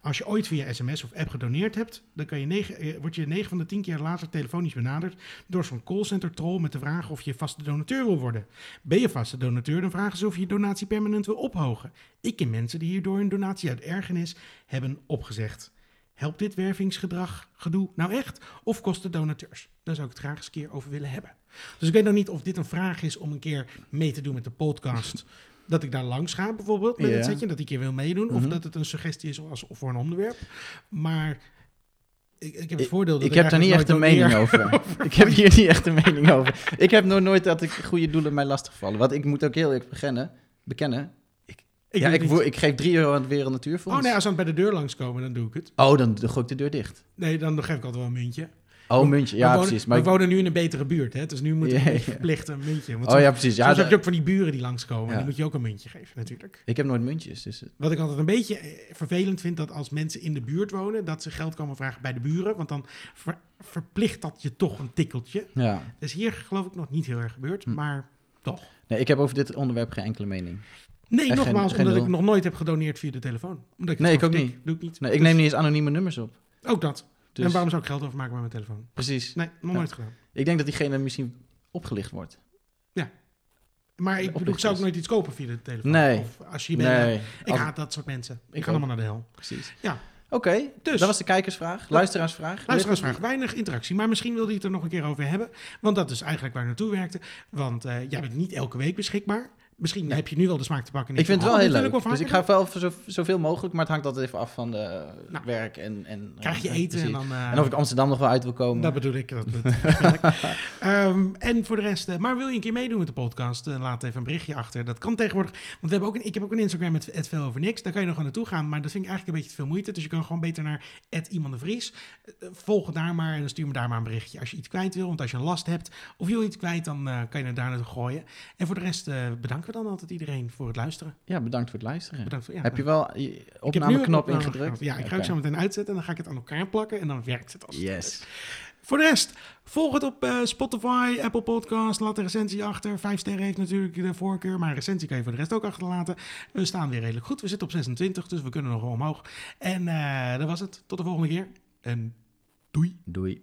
Speaker 1: Als je ooit via sms of app gedoneerd hebt, dan kan je negen, eh, word je 9 van de 10 keer later telefonisch benaderd door zo'n callcenter troll met de vraag of je vaste donateur wil worden. Ben je vaste donateur, dan vragen ze of je je donatie permanent wil ophogen. Ik ken mensen die hierdoor hun donatie uit ergernis hebben opgezegd. Helpt dit wervingsgedrag gedoe nou echt? Of kost het donateurs? Daar zou ik het graag eens een keer over willen hebben. Dus ik weet nog niet of dit een vraag is om een keer mee te doen met de
Speaker 2: *laughs*
Speaker 1: podcast. Dat ik daar langs ga bijvoorbeeld met
Speaker 2: Ja.
Speaker 1: het setje, dat ik hier wil meedoen. Of
Speaker 2: Mhm.
Speaker 1: dat het een suggestie is als, voor een onderwerp. Maar ik, ik heb het
Speaker 2: Ik-
Speaker 1: voordeel dat
Speaker 2: Ik heb daar niet echt
Speaker 1: eigenlijk
Speaker 2: een
Speaker 1: nooit
Speaker 2: mening
Speaker 1: doneer.
Speaker 2: over.
Speaker 1: *laughs*
Speaker 2: Ik heb hier niet echt een mening over. Ik heb nog nooit dat ik goede doelen mij lastigvallen. Want ik moet ook heel eerlijk bekennen. bekennen
Speaker 1: Ik
Speaker 2: ja,
Speaker 1: doe
Speaker 2: ik,
Speaker 1: het
Speaker 2: wo-
Speaker 1: niet.
Speaker 2: ik geef 3 euro aan het Wereld Natuurfonds.
Speaker 1: Oh nee, als ze aan het bij de deur langskomen, dan doe ik het.
Speaker 2: Oh, dan dan gooi ik de deur dicht.
Speaker 1: Nee, dan geef ik altijd wel een muntje.
Speaker 2: Oh, muntje. Ja,
Speaker 1: we wonen,
Speaker 2: precies.
Speaker 1: we
Speaker 2: Maar ik-
Speaker 1: wonen nu in een betere buurt, hè? Dus nu moet
Speaker 2: Ja,
Speaker 1: je
Speaker 2: ja.
Speaker 1: verplicht een muntje. Want
Speaker 2: oh ja, precies. Ja,
Speaker 1: soms heb
Speaker 2: de-
Speaker 1: je ook van die buren die langskomen. En
Speaker 2: Ja.
Speaker 1: dan moet je ook een muntje geven, natuurlijk.
Speaker 2: Ik heb nooit muntjes, dus... het-
Speaker 1: Wat ik altijd een beetje eh, vervelend vind, dat als mensen in de buurt wonen, dat ze geld komen vragen bij de buren. Want dan ver- verplicht dat je toch een tikkeltje.
Speaker 2: Ja.
Speaker 1: Dat is hier geloof ik nog niet heel erg gebeurd,
Speaker 2: Hm.
Speaker 1: maar toch.
Speaker 2: Nee, ik heb over dit onderwerp geen enkele mening.
Speaker 1: Nee,
Speaker 2: Echt geen-
Speaker 1: nogmaals,
Speaker 2: geen
Speaker 1: omdat
Speaker 2: lul.
Speaker 1: ik nog nooit heb gedoneerd via de telefoon. Omdat ik het
Speaker 2: Nee, ik
Speaker 1: gewoon
Speaker 2: ook
Speaker 1: vertik. Doe ik niet.
Speaker 2: Nee, ik
Speaker 1: Dus
Speaker 2: neem niet eens anonieme nummers op.
Speaker 1: Ook dat.
Speaker 2: Dus,
Speaker 1: En waarom zou ik geld overmaken bij mijn telefoon?
Speaker 2: Precies.
Speaker 1: Nee, nog
Speaker 2: Ja.
Speaker 1: nooit gedaan.
Speaker 2: Ik denk dat diegene misschien opgelicht wordt.
Speaker 1: Maar ik bedoel, ik zou ook
Speaker 2: Oplichters.
Speaker 1: nooit iets kopen via de telefoon.
Speaker 2: Nee.
Speaker 1: Of als je bent.
Speaker 2: Nee.
Speaker 1: Ik
Speaker 2: als-
Speaker 1: haat dat soort mensen. Ik,
Speaker 2: Ik
Speaker 1: ga
Speaker 2: ook.
Speaker 1: allemaal naar de hel.
Speaker 2: Precies.
Speaker 1: Ja.
Speaker 2: Oké,
Speaker 1: Dus-
Speaker 2: dus. dat was de kijkersvraag. Luisteraarsvraag.
Speaker 1: Luisteraarsvraag, weinig interactie. Maar misschien wilde je het er nog een keer over hebben. Want dat is eigenlijk waar ik naartoe werkte. Want eh, jij bent niet elke week beschikbaar. Misschien heb je nu wel de smaak te pakken. en
Speaker 2: Ik
Speaker 1: denk
Speaker 2: vind
Speaker 1: je,
Speaker 2: het wel
Speaker 1: oh,
Speaker 2: heel
Speaker 1: dit wil
Speaker 2: leuk.
Speaker 1: ik wel
Speaker 2: dus ik
Speaker 1: vaker
Speaker 2: ga wel voor zo, zoveel mogelijk, maar het hangt altijd even af van de
Speaker 1: Nou,
Speaker 2: werk en... en
Speaker 1: doen. Krijg je
Speaker 2: en-
Speaker 1: eten en
Speaker 2: precies.
Speaker 1: dan... eh,
Speaker 2: En of ik Amsterdam nog wel uit wil komen.
Speaker 1: Dat bedoel ik. Dat,
Speaker 2: *laughs*
Speaker 1: dat vertel ik. Ehm, en voor de rest, eh, maar wil je een keer meedoen met de podcast? eh, laat even een berichtje achter. Dat kan tegenwoordig. Want we hebben ook een, ik heb ook een Instagram met het veel over niks. Daar kan je nog aan naartoe gaan. Maar dat vind ik eigenlijk een beetje te veel moeite. Dus je kan gewoon beter naar iemand de Vries. Eh, Volg het daar maar en dan stuur me daar maar een berichtje als je iets kwijt wil. Want als je een last hebt of je wil iets kwijt, dan eh, kan je het daar naartoe gooien. En voor de rest eh, bedanken we dan altijd iedereen voor het luisteren.
Speaker 2: Ja, bedankt voor het luisteren.
Speaker 1: Bedankt voor, ja,
Speaker 2: Heb je wel je
Speaker 1: Ik heb nu een
Speaker 2: opnameknop
Speaker 1: opname
Speaker 2: ingedrukt?
Speaker 1: knop. Ja, ik ga ook
Speaker 2: Oké.
Speaker 1: zo meteen uitzetten en dan ga ik het aan elkaar plakken en dan werkt het als het
Speaker 2: Yes.
Speaker 1: Voor de rest, volg het op eh, Spotify, Apple Podcast. Laat een recensie achter. Vijf sterren heeft natuurlijk de voorkeur, maar een recensie kan je voor de rest ook achterlaten. We staan weer redelijk goed. We zitten op 26, dus we kunnen nog wel omhoog. En eh, dat was het. Tot de volgende keer. En doei.
Speaker 2: Doei.